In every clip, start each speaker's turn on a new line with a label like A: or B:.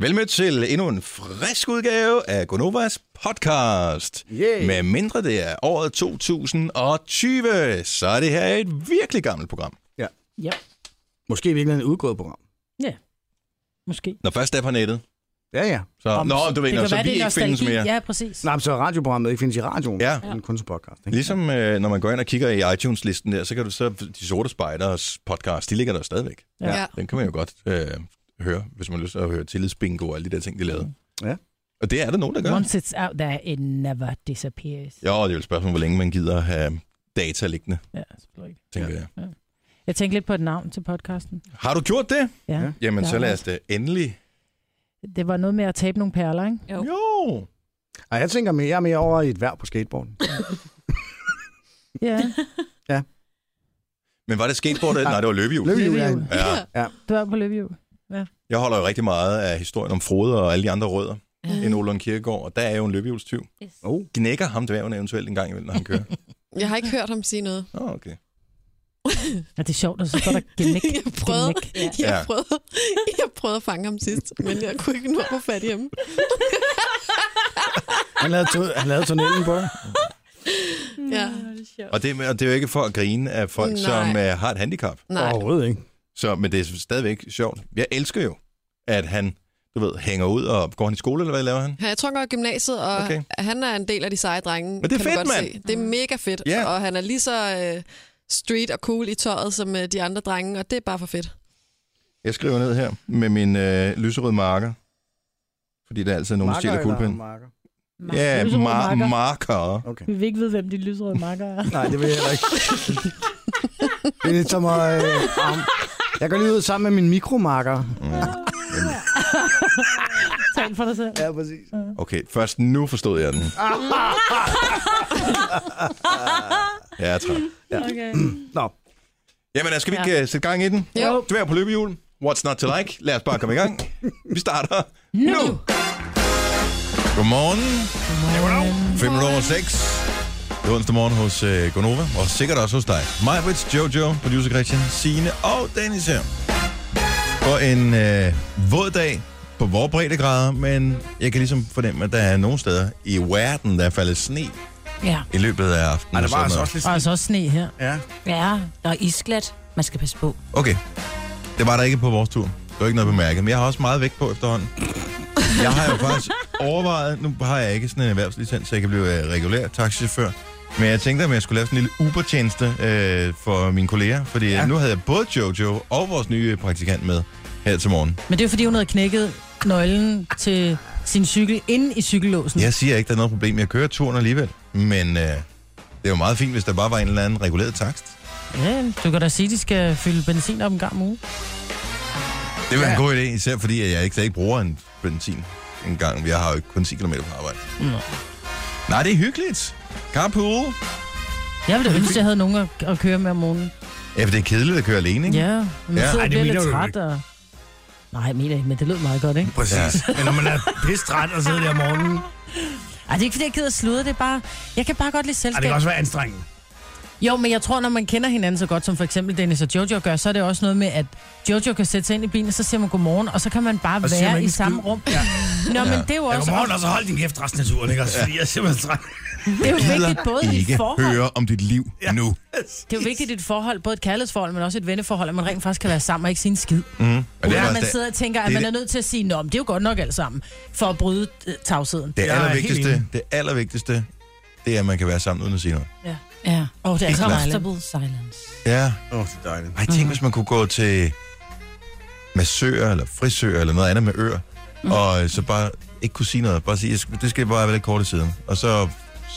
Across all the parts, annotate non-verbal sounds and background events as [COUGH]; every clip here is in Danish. A: Velmødt til endnu en frisk udgave af Gonovas podcast.
B: Yay.
A: Med mindre det er året 2020, så er det her et virkelig gammelt program.
C: Ja,
B: Måske i virkeligheden et udgået program.
C: måske.
A: Når først det er på nettet,
B: Ja, ja.
A: så,
C: Om-
A: nå, du ved,
C: det
A: når,
C: kan
A: så
C: være,
A: vi
C: det er
A: ikke findes
C: nostalgi.
A: mere.
C: Ja, præcis.
B: Nej, men så radioprogrammet ikke findes i radioen.
A: Ja.
B: Men kun som podcast. Ikke?
A: Ligesom øh, når man går ind og kigger i iTunes-listen der, så kan du så, de sorte spejders podcast, de ligger der stadigvæk.
C: Ja.
D: Ja.
A: Den kan man jo godt øh, høre, hvis man har lyst til at høre tillidsbingo og alle de der ting, de lavede.
B: Ja.
A: Og det er der nogen, der gør.
C: Once it's out there, it never disappears.
A: Jo, det er jo et spørgsmål, hvor længe man gider have data liggende,
C: Ja, selvfølgelig.
A: tænker
B: Ja.
A: jeg.
C: Jeg tænkte lidt på et navn til podcasten.
A: Har du gjort det?
C: Ja.
B: Ja.
A: Jamen,
C: Der
A: så
C: er
A: lad os da endelig.
C: Det var noget med at tabe nogle perler, ikke?
D: Jo.
A: Jo.
B: Og jeg tænker mere, jeg er mere over i et værv på skateboarden.
C: Ja.
A: Men var det skateboard? eller- Nej, det var løbehjul.
B: Løbehjul.
C: Løbehjul.
B: Løbehjul.
A: Ja.
C: Du er på løbehjul.
A: Jeg holder jo rigtig meget af historien om Frode og alle de andre rødder mm. end Olund Kirkegaard, og der er jo en løbehjulstyv.
D: Yes.
B: Oh.
A: Gnækker ham dværgen eventuelt en gang imellem, når han
B: [LAUGHS]
A: kører.
D: Jeg har ikke hørt ham sige noget.
A: Nå, okay.
C: Ja, det er sjovt, og så står der gimmick.
D: [LAUGHS] Jeg prøvede,
C: gimmick.
A: Ja.
D: [LAUGHS] jeg, prøvede, jeg prøvede at fange ham sidst, men jeg kunne ikke nå at få fat i ham.
B: Han lavede, tu- han lavede tunnelen på.
C: Mm,
D: Ja.
A: Og det, og det er jo ikke for at grine af folk, Nej.
D: Nej.
A: som uh, har et handicap.
D: Nej.
B: Overhovedet ikke.
A: Så, men det er stadigvæk sjovt. Jeg elsker jo, at han, du ved, hænger ud og går han i skole, eller hvad laver han?
D: Ja, Jeg tror, han går i gymnasiet, og
A: Okay.
D: okay. han er en del af de seje drenge.
A: det er
D: kan du
A: fedt,
D: godt
A: mand.
D: Se. Det
C: Mm.
D: er mega fedt,
A: Ja.
D: og han er lige så øh, street og cool i tøjet som øh, de andre drenge, og det er bare for fedt.
A: Jeg skriver ned her med min øh, lyserød marker. Fordi der er altid nogen, der stjæler kuglepind.
B: Marker.
A: Ja, mar- marker.
B: [LAUGHS] Okay.
C: Vi vil ikke vide, hvem de lyserøde marker er.
B: Nej, det vil jeg heller
A: [LAUGHS]
B: ikke. det er lidt som at... Øh, arm. jeg går lige ud sammen med min mikromarker.
C: [LAUGHS]
A: Mm.
C: Tal for dig selv.
B: Ja, præcis.
A: Okay, først nu forstod jeg den.
B: Ah.
A: Jeg er træt.
C: Okay.
B: Nå,
A: Jamen, altså, skal vi ikke ja. sætte gang i den?
D: Jo.
A: Dvær på løbehjul. What's not to like? Lad os bare komme i gang. Vi starter nu. nu. Godmorgen. Godmorgen. 5 over 6. Det er onsdag morgen hos øh, Gonova, og sikkert også hos dig. Mig, Brits, Jojo, producer Christian, Signe og Dennis her. For en øh, våd dag på vores breddegrader, men jeg kan ligesom fornemme, at der er nogle steder i verden, der er faldet sne
C: Ja.
A: i løbet af aftenen.
B: Ej, der var
A: og
B: altså
A: sådan
B: også lidt...
C: Og så også sne her.
B: Ja.
E: Ja, der er isglat. Man skal passe på.
A: noget. Okay, det var der ikke på vores tur. Det var ikke noget bemærket, men jeg har også meget vægt på efterhånden. Jeg har jo faktisk overvejet, nu har jeg ikke sådan en erhvervslicens, så jeg kan blive øh, regulær taxichauffør. Men jeg tænkte, at jeg skulle lave sådan en lille Uber-tjeneste øh, for mine kolleger, fordi ja. nu havde jeg både Jojo og vores nye praktikant med her til morgen.
C: Men det er jo, fordi, hun havde knækket nøglen til sin cykel inde i cykellåsen.
A: Jeg siger ikke, der er noget problem. Jeg kører turen alligevel, men øh, det er jo meget fint, hvis der bare var en eller anden reguleret takst.
C: Ja, du kan da sige, at de skal fylde benzin op en gang om ugen.
A: Det var ja. en god idé, især fordi at jeg ikke, slet ikke bruger en benzin en gang. Jeg har jo kun 10 km på arbejde.
C: Nå.
A: Nej, det er hyggeligt. Carpool.
C: Jeg ville da ønske, at jeg havde nogen at, at køre med om morgenen.
A: Ja, for det er kedeligt at køre alene, ikke?
C: Ja, men man
A: Ja.
C: ja.
A: Ej,
C: sidder
A: det
C: og bliver
F: mener
C: lidt
F: du
C: træt.
F: ikke.
C: Og... Nej, jeg mener ikke, men det lød meget godt, ikke?
F: Præcis. Ja. [LAUGHS] Men når man er pistræt og sidder der om morgenen,
C: Ej, det er ikke, fordi jeg gider sludre, det er bare... Jeg kan bare godt lide
F: og
C: selskab.
F: ah, det kan også være anstrengende.
C: Jo, men jeg tror, når man kender hinanden så godt, som for eksempel Dennis og Jojo gør, så er det også noget med, at Jojo kan sætte sig ind i bilen, og så siger man godmorgen, og så kan man bare
F: Og så siger man
C: være
F: ikke
C: i
F: en
C: samme
F: skid.
C: rum. Ja. Nå, men det er jo
F: Jeg
C: også...
F: kommer morgen, og så hold din kæft resten af turen, ikke? Også, fordi jeg er simpelthen træt.
C: Det er jo vigtigt både i
A: ikke
C: et forhold.
A: høre om dit liv ja. nu. Mm.
C: Det er jo vigtigt i et forhold, både et kærlighedsforhold, men også et venneforhold, at man rent faktisk kan være sammen og ikke sige en skid.
A: Og det,
C: Ja,
A: er
C: man
A: også det,
C: sidder og tænker, at
A: det er
C: man er nødt til at sige, nå, men det er jo godt nok alt sammen, for at bryde øh, tavsheden.
A: det
F: Jeg er helt
A: allervigtigste,
F: enig.
A: det allervigtigste, det er, at man kan være sammen uden at sige noget.
E: Ja.
C: Åh, oh, det er så dejligt.
E: Comfortable silence.
A: Ja.
F: Åh, oh, det er dejligt.
A: Ej,
C: Mhm.
A: tænk, hvis man kunne gå til massør eller frisør eller noget andet med ører,
C: Mhm.
A: mm. og øh, så bare ikke kunne sige noget. Bare sige, "Jeg skal- det skal bare være lidt kort i siden. Og så,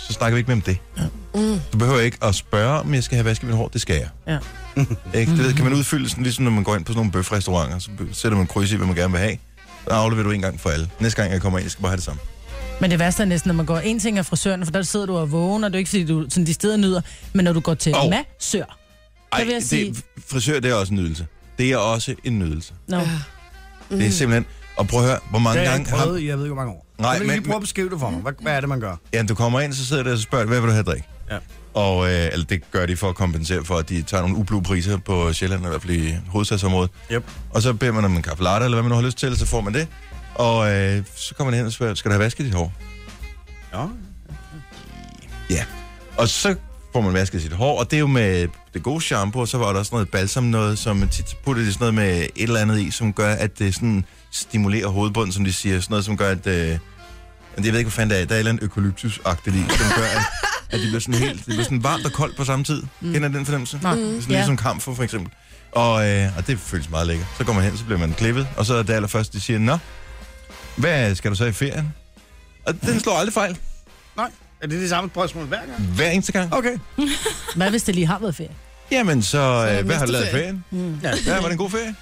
A: så snakker vi ikke mere om det.
D: Mm.
A: Du behøver ikke at spørge, om jeg skal have vasket mit hår. Det skal jeg.
C: Ja.
A: Ikke? Det ved- kan man udfylde, sådan, ligesom når man går ind på sådan nogle bøfrestauranter, så be- sætter man kryds i, hvad man gerne vil have. Så afleverer du en gang for alle. Næste gang, jeg kommer ind, jeg skal bare have det samme.
C: Men det værste er næsten, når man går en ting af frisøren, for der sidder du og vågen, og det er ikke, fordi du sådan, de steder nyder, men når du går til
A: Åh.
C: oh. massør.
A: Ej,
C: vil jeg sige-
A: det, frisør, det er også en nydelse. Det er også en nydelse.
C: Nå,
D: Ja.
A: Mm.
F: Mhm.
A: Det er simpelthen... Og prøv at høre, hvor
F: Det
A: mange
F: har jeg
A: gange...
F: ikke prøvet i, jeg ved ikke, hvor mange år.
A: Nej,
F: men...
A: men-
F: lige prøve at beskrive det for mig. Hvad, hvad er det, man gør?
A: Ja, du kommer ind, så sidder der og så spørger, de, hvad vil du have at drikke?
F: Ja.
A: Og øh, eller det gør de for at kompensere for, at de tager nogle ublu priser på Sjælland, i hvert fald i hovedstadsområdet.
F: Yep.
A: Og så beder man om en kaffe latte, eller hvad man nu har lyst til, så får man det. Og øh, så kommer han hen og spørger, skal du have vasket dit hår?
F: Ja.
A: Ja. Og så får man vasket sit hår, og det er jo med det gode shampoo, og så var der også noget balsam noget, som tit putter de sådan noget med et eller andet i, som gør, at det sådan stimulerer hovedbunden, som de siger. Sådan noget, som gør, at... Øh, jeg ved ikke, hvad fanden det er. Der er et eller andet økolyptus-agtigt i, som gør, at, at det bliver sådan helt... Det bliver sådan varmt og koldt på samme tid. Mm. Kender I den fornemmelse?
C: Nå,
A: Sådan ligesom
C: ja.
A: lidt som kamfer, for eksempel. Og, øh, og det føles meget lækkert. Så går man hen, så bliver man klippet, og så er det allerførst, de siger, Nå, hvad skal du så i ferien? Og den slår aldrig fejl.
F: Nej, er det det samme spørgsmål hver gang?
A: Hver eneste gang.
F: Okay.
C: [LAUGHS] Hvad hvis det lige har været ferie?
A: Jamen, så,
D: det
A: øh, hvad har
D: næste
A: du lavet i
D: ferie.
A: ferien?
G: Mm.
F: Ja.
A: Ja, var det en god ferie?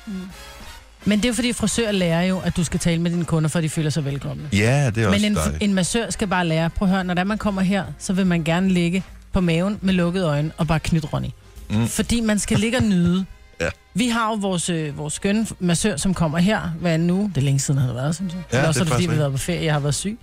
C: Men det er jo fordi, frisører lærer jo, at du skal tale med dine kunder, for de føler sig velkomne.
A: Ja, det er også
C: Men en,
A: dejligt.
C: en massør skal bare lære, prøv at høre, når der man kommer her, så vil man gerne ligge på maven med lukkede øjne og bare knytte Ronny.
A: Mm.
C: Mm. Fordi man skal ligge og nyde.
A: [LAUGHS] Ja.
C: Vi har jo vores, øh, vores skønne massør, som kommer her hver anden uge. Det er længe siden, han har været, synes jeg.
A: Ja,
C: Eller
A: det er
C: også er det, fordi
A: faktisk
C: vi har været på ferie, jeg har været syg.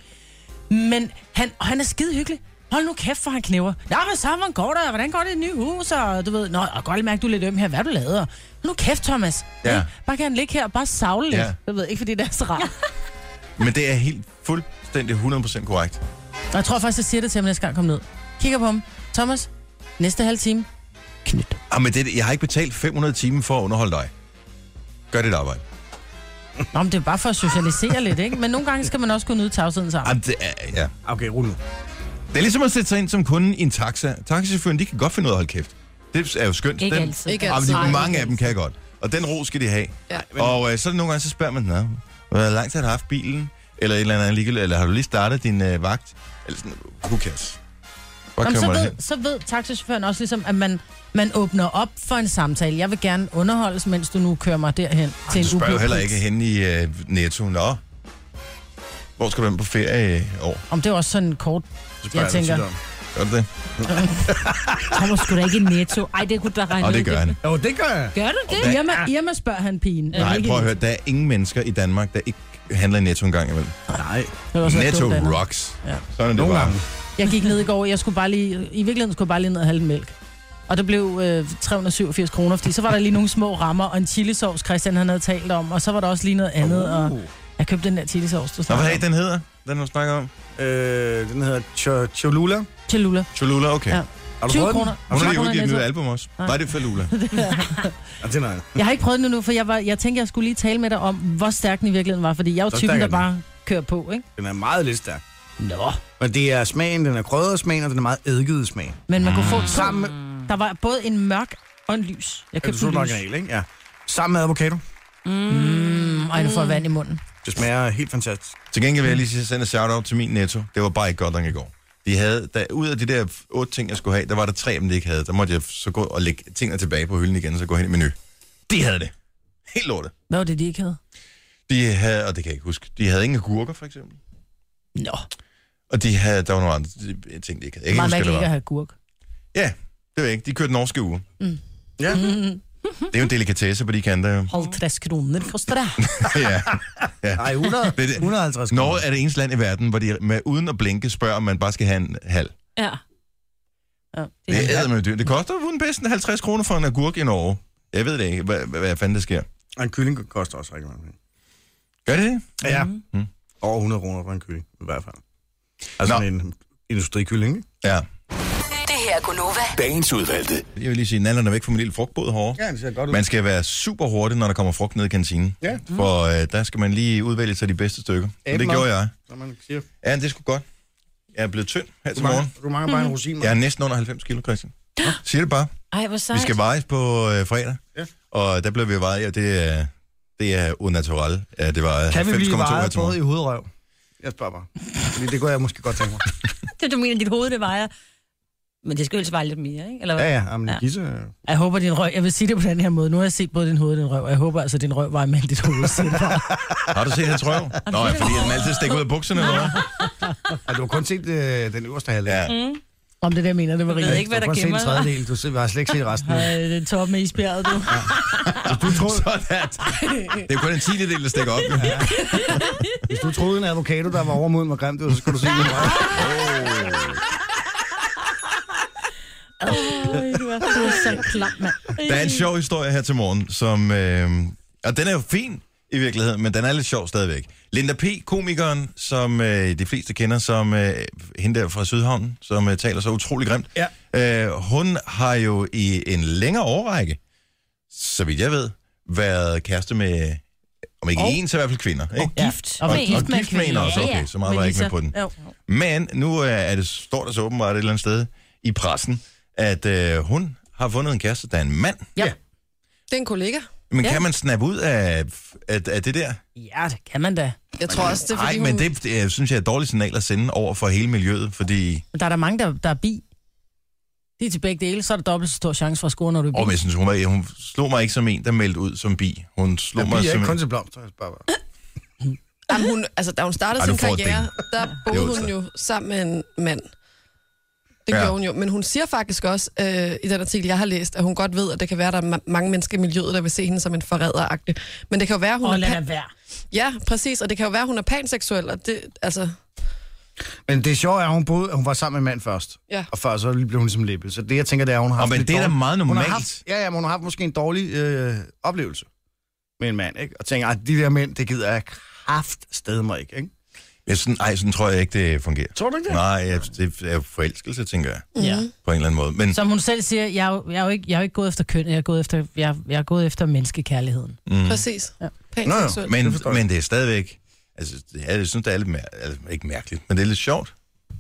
C: Men han, og han er skide hyggelig. Hold nu kæft, for han knæver. Nå, hvad så, hvordan går det? Hvordan går det i det nye hus? Og du ved, nå, jeg kan godt mærke, du er lidt øm her. Hvad har du lavet? Og, Hold nu kæft, Thomas.
A: Ja.
C: Ikke? Bare gerne ligge her og bare savle lidt.
A: Ja.
C: Jeg ved ikke, fordi det er så rart.
A: Men det er helt fuldstændig 100% korrekt.
C: Og jeg tror faktisk, jeg siger det til ham næste gang, kom ned. Kigger på ham. Thomas, næste halv time. Knyt.
A: Ah, men det, jeg har ikke betalt 500 timer for at underholde dig. Gør dit arbejde.
C: Nå, men det er bare for at socialisere lidt, ikke? Men nogle gange skal man også kunne nyde tavsheden sammen.
A: Jamen, det er, ja.
F: Okay, rul nu.
A: det er ligesom at sætte sig ind som kunde i en taxa. Taxichaufføren, de kan godt finde ud af at holde kæft. Det er jo skønt.
E: Ikke
A: Dem-
E: altid.
D: Ikke
A: Ah, men
D: altid.
A: de,
D: Ej,
A: mange af dem kan godt. Og den ro skal de have.
D: Ja.
A: Og øh, så er det nogle gange, så spørger man, "Nå, hvor lang tid har du haft bilen? Eller et eller andet ligegyldigt, eller har du lige startet din øh, vagt? Eller sådan, who cares? Bare
C: Jamen,
A: kører
C: så,
A: man
C: ved,
A: hen.
C: så ved taxichaufføren også ligesom, at man, man åbner op for en samtale. Jeg vil gerne underholdes, mens du nu kører mig derhen Ej, til
A: Du
C: en
A: spørger jo
C: ublød
A: heller
C: pris.
A: ikke hen i øh, Netto, nå. Hvor skal du hen på ferie i år?
C: Om det er også sådan en kort...
F: Så spørger
C: Jeg tænker-
F: dig tit om.
A: Gør
C: [LAUGHS]
A: du det?
E: Thomas skulle da ikke i netto. Ej, det kunne du da regne
A: Og det
E: ud.
A: gør han.
F: Jo, det gør jeg.
E: Gør du det?
C: Irma, Irma spørger han pigen.
A: Nej,
C: Ikke
A: prøv at
C: hende.
A: høre, der er ingen mennesker i Danmark, der ikke handler i Netto en gang imellem.
F: Nej.
C: Det var også være
A: Netto
C: dumt andet.
A: rocks.
C: Ja.
A: Sådan er det
F: Nogle
A: bare.
F: gange.
C: Jeg gik ned i går, jeg skulle bare lige, i virkeligheden skulle jeg bare lige ned og have lidt mælk. Og det blev øh, 387 kroner, fordi så var der lige nogle små rammer og en chilisauce, Christian han havde talt om, og så var der også lige noget andet,
F: Uh.
C: og jeg købte den der chilisauce,
A: Nå,
C: du
A: hvad
C: snakker
A: er det, den hedder? Den, du snakker om?
F: Øh, den hedder Cho- Cholula.
C: Cholula.
A: Cholula, okay.
C: Ja.
F: Har du
C: 20
F: prøvet den?
C: kroner.
A: Hun har
C: 20
A: lige
C: kroner
A: udgivet et nyt
C: netto.
A: album også.
C: Nej.
A: Nej, det er
C: [LAUGHS]
A: Falula.
F: Ja, det er nej.
C: Jeg har ikke prøvet den endnu, for jeg, var, jeg tænkte, jeg skulle lige tale med dig om, hvor stærk den i virkeligheden var, fordi jeg er jo
F: Så
C: typen,
F: stærk
C: der
F: er den.
C: bare kører på, ikke?
F: Den er meget lidt stærk.
C: Nå.
F: Men det er smagen, den er krødret smagen, og den er meget eddiket smagen.
C: Men man kunne få to.
F: Sammen med,
C: Der var både en mørk og en lys. Jeg
F: er det
C: købte en
F: super
C: lys.
F: original, ikke? Ja. Sammen med avocado.
C: Mm, Ej, nu får jeg vand i munden.
F: Det smager helt fantastisk.
A: Til gengæld vil jeg lige sige- sende et shout-out til min netto. Det var bare ikke godt nok i går. De havde, der, ud af de der otte ting, jeg skulle have, der var der tre af dem, de ikke havde. Der måtte jeg så gå og lægge tingene tilbage på hylden igen, så gå hen i menu. De havde det. Helt lortet.
C: Hvad var det, de ikke havde?
A: De havde, og det kan jeg ikke huske, de havde ingen agurker, for eksempel.
C: Nå,
A: Og de havde, der var nogle andre de- ting, de ikke havde. Jeg kan
C: meget
A: ikke huske,
C: mærkeligt
A: hvad
C: ikke
A: det
C: at
A: var.
C: have gurk.
A: Ja, det ved jeg ikke. De kørte norske uge.
F: Ja.
A: Det er jo en delikatesse på de
F: [LAUGHS]
A: kanter, jo.
C: 50 kroner koster det.
A: ja.
F: Nej, 100,
A: Det er det.
F: 150 kroner.
A: Norge er det eneste land i verden, hvor de med, uden at blinke spørger, om man bare skal have en halv.
E: Ja. ja. Det
A: Det
E: er
A: er med dyrt. Det koster uden bedst 50 kroner for en agurk i Norge. Jeg ved det ikke, hvad, hvad, hvad fanden der sker.
F: Og en kylling koster også rigtig mange penge.
A: Gør det det?
F: Ja.
A: Mm.
F: Over 100 kroner for en kylling, i hvert fald. Altså
A: Nå.
F: sådan en industrikylling, ikke?
A: Ja.
H: Det her er Gunova.
I: Dagens udvalgte.
A: Jeg vil lige sige, at er væk fra min lille frugtbåd hårdere.
F: Ja, det ser godt ud.
A: Man skal være super hurtig, når der kommer frugt ned i kantinen.
F: Ja.
A: For øh, der skal man lige udvælge sig de bedste stykker. Så det
F: Æbler.
A: gjorde jeg.
F: Som man siger.
A: Ja, det skulle godt. Jeg er blevet tynd her
F: Du
A: til
F: mangler,
A: morgen.
F: du mangler bare en rosin.
A: Jeg
F: Ja.
A: er næsten under 90 kilo, Christian. Siger det bare.
E: Ej, hvor sejt.
A: Vi skal vejes på øh, fredag.
F: Ja.
A: Og der blev vi vejet, og det er, det er unnatural. Ja, det var
B: Kan vi blive
A: 90,2 her
B: vejet
A: til
B: både i
A: morgen.
B: hovedrøv?
F: Jeg spørger bare. Fordi det går jeg måske godt tænke mig.
E: Det du mener, dit hoved, det vejer. Men det skal jo helst veje lidt mere, ikke? Eller hvad?
F: Ja, ja. Jamen,
E: Ja.
F: ja. Gisse,
C: Jeg håber, din røv... Jeg vil sige det på den her måde. Nu har jeg set både din hoved og din røv, og jeg håber altså, din røv var med dit
A: [LAUGHS]
C: hoved. siger det bare.
E: Mm.
A: Har du set hans røv? Nå, ja, fordi den altid stikker ud af bukserne. Eller? hvad?
F: ja, du har kun set øh, den øverste halvdel.
A: Ja.
F: Ja.
C: Om det der mener, det var
E: Jeg ved
C: rigtigt.
E: ikke, hvad
F: Du
E: der
F: har kun set
E: gemmer
F: en
E: sig.
F: tredjedel. Du ser- har slet ikke set resten.
C: Ej, det er toppen af isbjerget, du. [LAUGHS]
A: Du troede... Sådan. Det er jo kun en tiende del, der stikker op.
B: [LAUGHS]
A: jo.
F: Hvis du troede, en avocado, der var overmoden, var grimt, så skulle du se den.
E: Ej, du er, du er så klam, mand.
A: Der er en sjov historie her til morgen, som... Øh, og den er jo fin i virkeligheden, men den er lidt sjov stadigvæk. Linda P., komikeren, som øh, de fleste kender som øh, hende der fra Sydhavn, som øh, taler så utrolig grimt. Ja. Øh, hun har jo i en længere årrække, så vidt jeg ved, været kæreste med, øh, om ikke en, så i hvert fald kvinder. Ikke?
E: Og gift.
A: Og- og gift med en også. Okay, så meget var jeg ikke med på den.
E: Jo.
A: Men nu øh, er det, står der så åbenbart et eller andet sted i pressen, at øh, hun har fundet en kæreste, der er en mand.
E: Ja.
D: Det er en kollega.
A: Men
E: Ja.
A: kan man snappe ud af, af, af det der?
C: Ja, det kan man da.
D: Jeg tror også, det er
A: Nej,
D: fordi,
A: men
D: hun...
A: det, det øh, synes jeg er et dårligt signal at sende over for hele miljøet, fordi
C: Der er der mange, der, der er bi. Det er til begge dele, så er der dobbelt så stor chance for at score, når du er bi.
A: åh, men jeg synes, hun, var, hun slog mig ikke som en, der meldte ud som bi. Hun slog
F: Vi
A: mig
F: er
A: som
F: ikke
A: en...
F: kun til blomster, jeg spørger bare.
D: Jamen, hun, altså, da hun startede
A: Ej,
D: sin
A: du får et
D: karriere, der
A: Det er
D: boede
A: onsdag.
D: hun jo sammen med en mand. Det
A: Ja.
D: ja. gjorde hun jo. Men hun siger faktisk også øh, i den artikel, jeg har læst, at hun godt ved, at det kan være, at der er ma- mange mennesker i miljøet, der vil se hende som en forræderagtig. Men det kan jo være, hun
C: Åh,
D: er
C: lad
D: pan...
C: da være.
D: Ja, præcis. Og det kan jo være, hun er panseksuel. Og det, altså,
F: Men det sjove er, at hun, boede, hun var sammen med en mand først.
D: Ja.
F: Og før så blev hun som læbel. Så det, jeg tænker, det er, at hun har
A: Åh,
F: haft
A: men
F: lidt
A: det er da
F: dårlig-
A: meget
F: Hun har
A: normalt.
F: haft, ja, ja, men hun har haft måske en dårlig øh, oplevelse med en mand, ikke? Og tænker, at de der mænd, det gider jeg kraft sted mig ikke, ikke?
A: Jeg synes, ej, sådan tror jeg ikke, det fungerer.
F: Tror du ikke det?
A: Nej, jeg, det er forelskelse, tænker jeg,
D: Mhm.
C: Ja.
A: på en eller anden måde. Men
C: Som hun selv siger, jeg, er jo- jeg, er jo ikke, jeg er jo ikke gået efter køn, jeg er gået efter, jeg, er- jeg er gået efter menneskekærligheden.
F: Mhm.
D: mm. præcis. Ja. Panseksuel.
A: Men,
F: forstår jeg.
A: men det er stadigvæk... Altså, det- ja, jeg synes, det er lidt mær- altså, ikke mærkeligt, men det er lidt sjovt. Et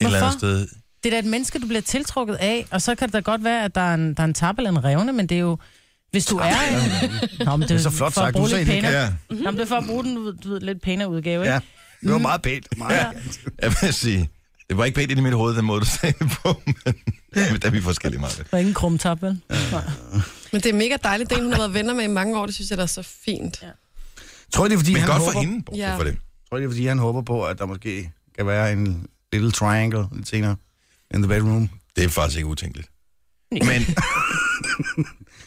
A: eller andet
C: Hvorfor?
A: sted.
C: Det er da et menneske, du bliver tiltrukket af, og så kan det da godt være, at der er en, der er en tab eller en revne, men det er jo... Hvis du er... [LAUGHS] Nå, men det er
F: så flot
C: for at
F: sagt.
C: bruge
F: Du
C: lidt
F: sagde det,
C: pænere.
A: Ja,
D: Mhm.
C: Nå, men det er for at bruge den du ved, lidt pænere udgave, ikke?
F: Ja. Det var meget pænt. Meget ja.
A: jeg vil sige... Det var ikke pænt ind i mit hoved, den måde, du sagde det på, men men der er vi forskellige meget.
C: Og ingen krumtop, vel?
D: Men det er mega dejligt. Det er en, hun har været venner med i mange år. Det synes jeg, der er så fint. Ja.
F: Tror I, det er, fordi
A: Men
F: han
A: godt
F: håber...
A: for hende, bortset
D: Ja.
A: for det.
F: Tror I, det er, fordi han håber på, at der måske kan være en little triangle lidt senere in the bedroom?
A: Det er faktisk ikke utænkeligt. Men...
F: [LAUGHS]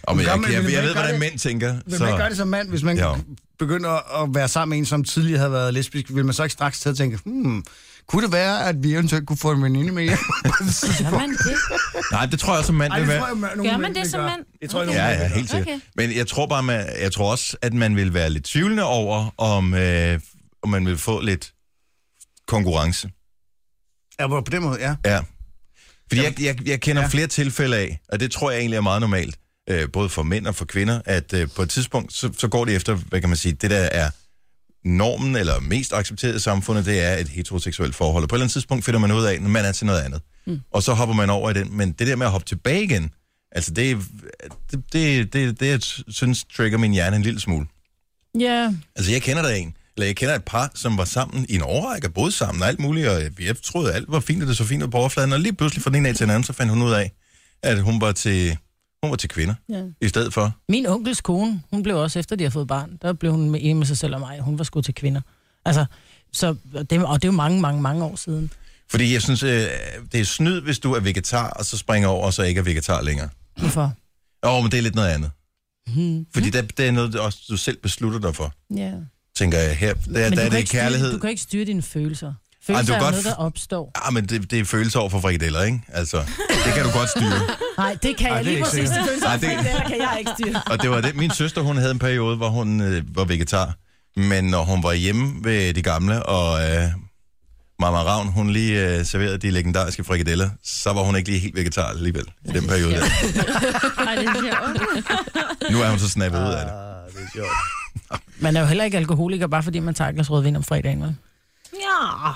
A: Og men
F: gør
A: jeg,
F: man-
A: jeg, jeg,
F: vil man
A: ved,
F: ikke gøre
A: hvordan
F: det?
A: mænd tænker.
F: Vil man ikke gøre
A: Så,
F: det som mand, hvis man
A: Jo.
F: jo. begynder at være sammen med en, som tidligere havde været lesbisk? Vil man så ikke straks til at tænke, hmm, kunne det være, at vi eventuelt kunne få en veninde med
A: [LAUGHS]
F: hjem?
E: Gør man det?
A: nej, det tror jeg også, som mand
F: Ej,
A: vil
F: det
A: være.
F: tror jeg, nogle
E: Gør man
F: mænd
E: det
F: vil
E: som
F: gøre.
E: mand?
F: Det tror jeg,
E: Okay.
F: nogle
A: Ja,
F: mænd
A: ja,
F: vil gøre.
A: helt sikkert. Okay.
E: Okay.
A: Men jeg tror bare, man, jeg tror også, at man vil være lidt tvivlende over, om, øh, om man vil få lidt konkurrence.
F: Ja, på- på den måde, ja.
A: Ja. Fordi jeg, jeg, jeg kender ja. flere tilfælde af, og det tror jeg egentlig er meget normalt, øh, både for mænd og for kvinder, at øh, på et tidspunkt, så, så går de efter, hvad kan man sige, det der er normen eller mest accepteret i samfundet, det er et heteroseksuelt forhold. Og på et eller andet tidspunkt finder man ud af, at man er til noget andet. Mm. Og så hopper man over i den. Men det der med at hoppe tilbage igen, altså det, det, det, det, det jeg synes trigger min hjerne en lille smule.
C: Ja.
A: Altså, jeg kender da en, eller jeg kender et par, som var sammen i en årrække, og boede sammen og alt muligt, og jeg troede, alt var fint, og det så fint ud på overfladen, og lige pludselig fra den ene af til den anden, så fandt hun ud af, at hun var til, hun var til kvinder, ja. i stedet for.
C: Min onkels kone, hun blev også efter, de har fået barn. Der blev hun med enig med sig selv og mig. Hun var sgu til kvinder. Altså, så, og, det, og det er jo mange, mange, mange år siden.
A: Fordi jeg synes, øh, det er snyd, hvis du er vegetar, og så springer over, og så ikke er vegetar længere.
C: Hvorfor?
A: Åh, men det er lidt noget andet.
C: Mhm.
A: Hmm. Fordi der, det er noget, du også du selv beslutter dig for,
C: Ja.
A: tænker jeg her. Der,
C: du,
A: der er
C: kan
A: det
C: ikke styre,
A: kærlighed.
C: du kan ikke styre dine følelser. Følelser
A: du
C: Ej, er
A: kan
C: noget,
A: godt-
C: der opstår.
A: Ah, men det, det er følelser over for frikadeller, ikke? Altså, det kan du godt styre.
C: [LAUGHS] Nej, det kan
F: Ej,
C: jeg
F: det er
C: lige
F: ikke
C: præcis.
F: sikkert.
C: Følelser
A: Ej,
C: Ej,
A: det-
C: det... Eller kan jeg ikke styre.
A: [LAUGHS] Og det var det. Min søster, hun havde en periode, hvor hun øh, var vegetar. Men når hun var hjemme ved de gamle, og øh, Mama Ravn, hun lige øh, serverede de legendariske frikadeller, så var hun ikke lige helt vegetar alligevel i den periode der.
E: Ej, det er sjovt.
A: Nu er hun så snappet ud af det.
F: Ah, det er sjovt.
C: Man er jo heller ikke alkoholiker, bare fordi man tager et glas rødvin om fredagen, vel?
E: Ja.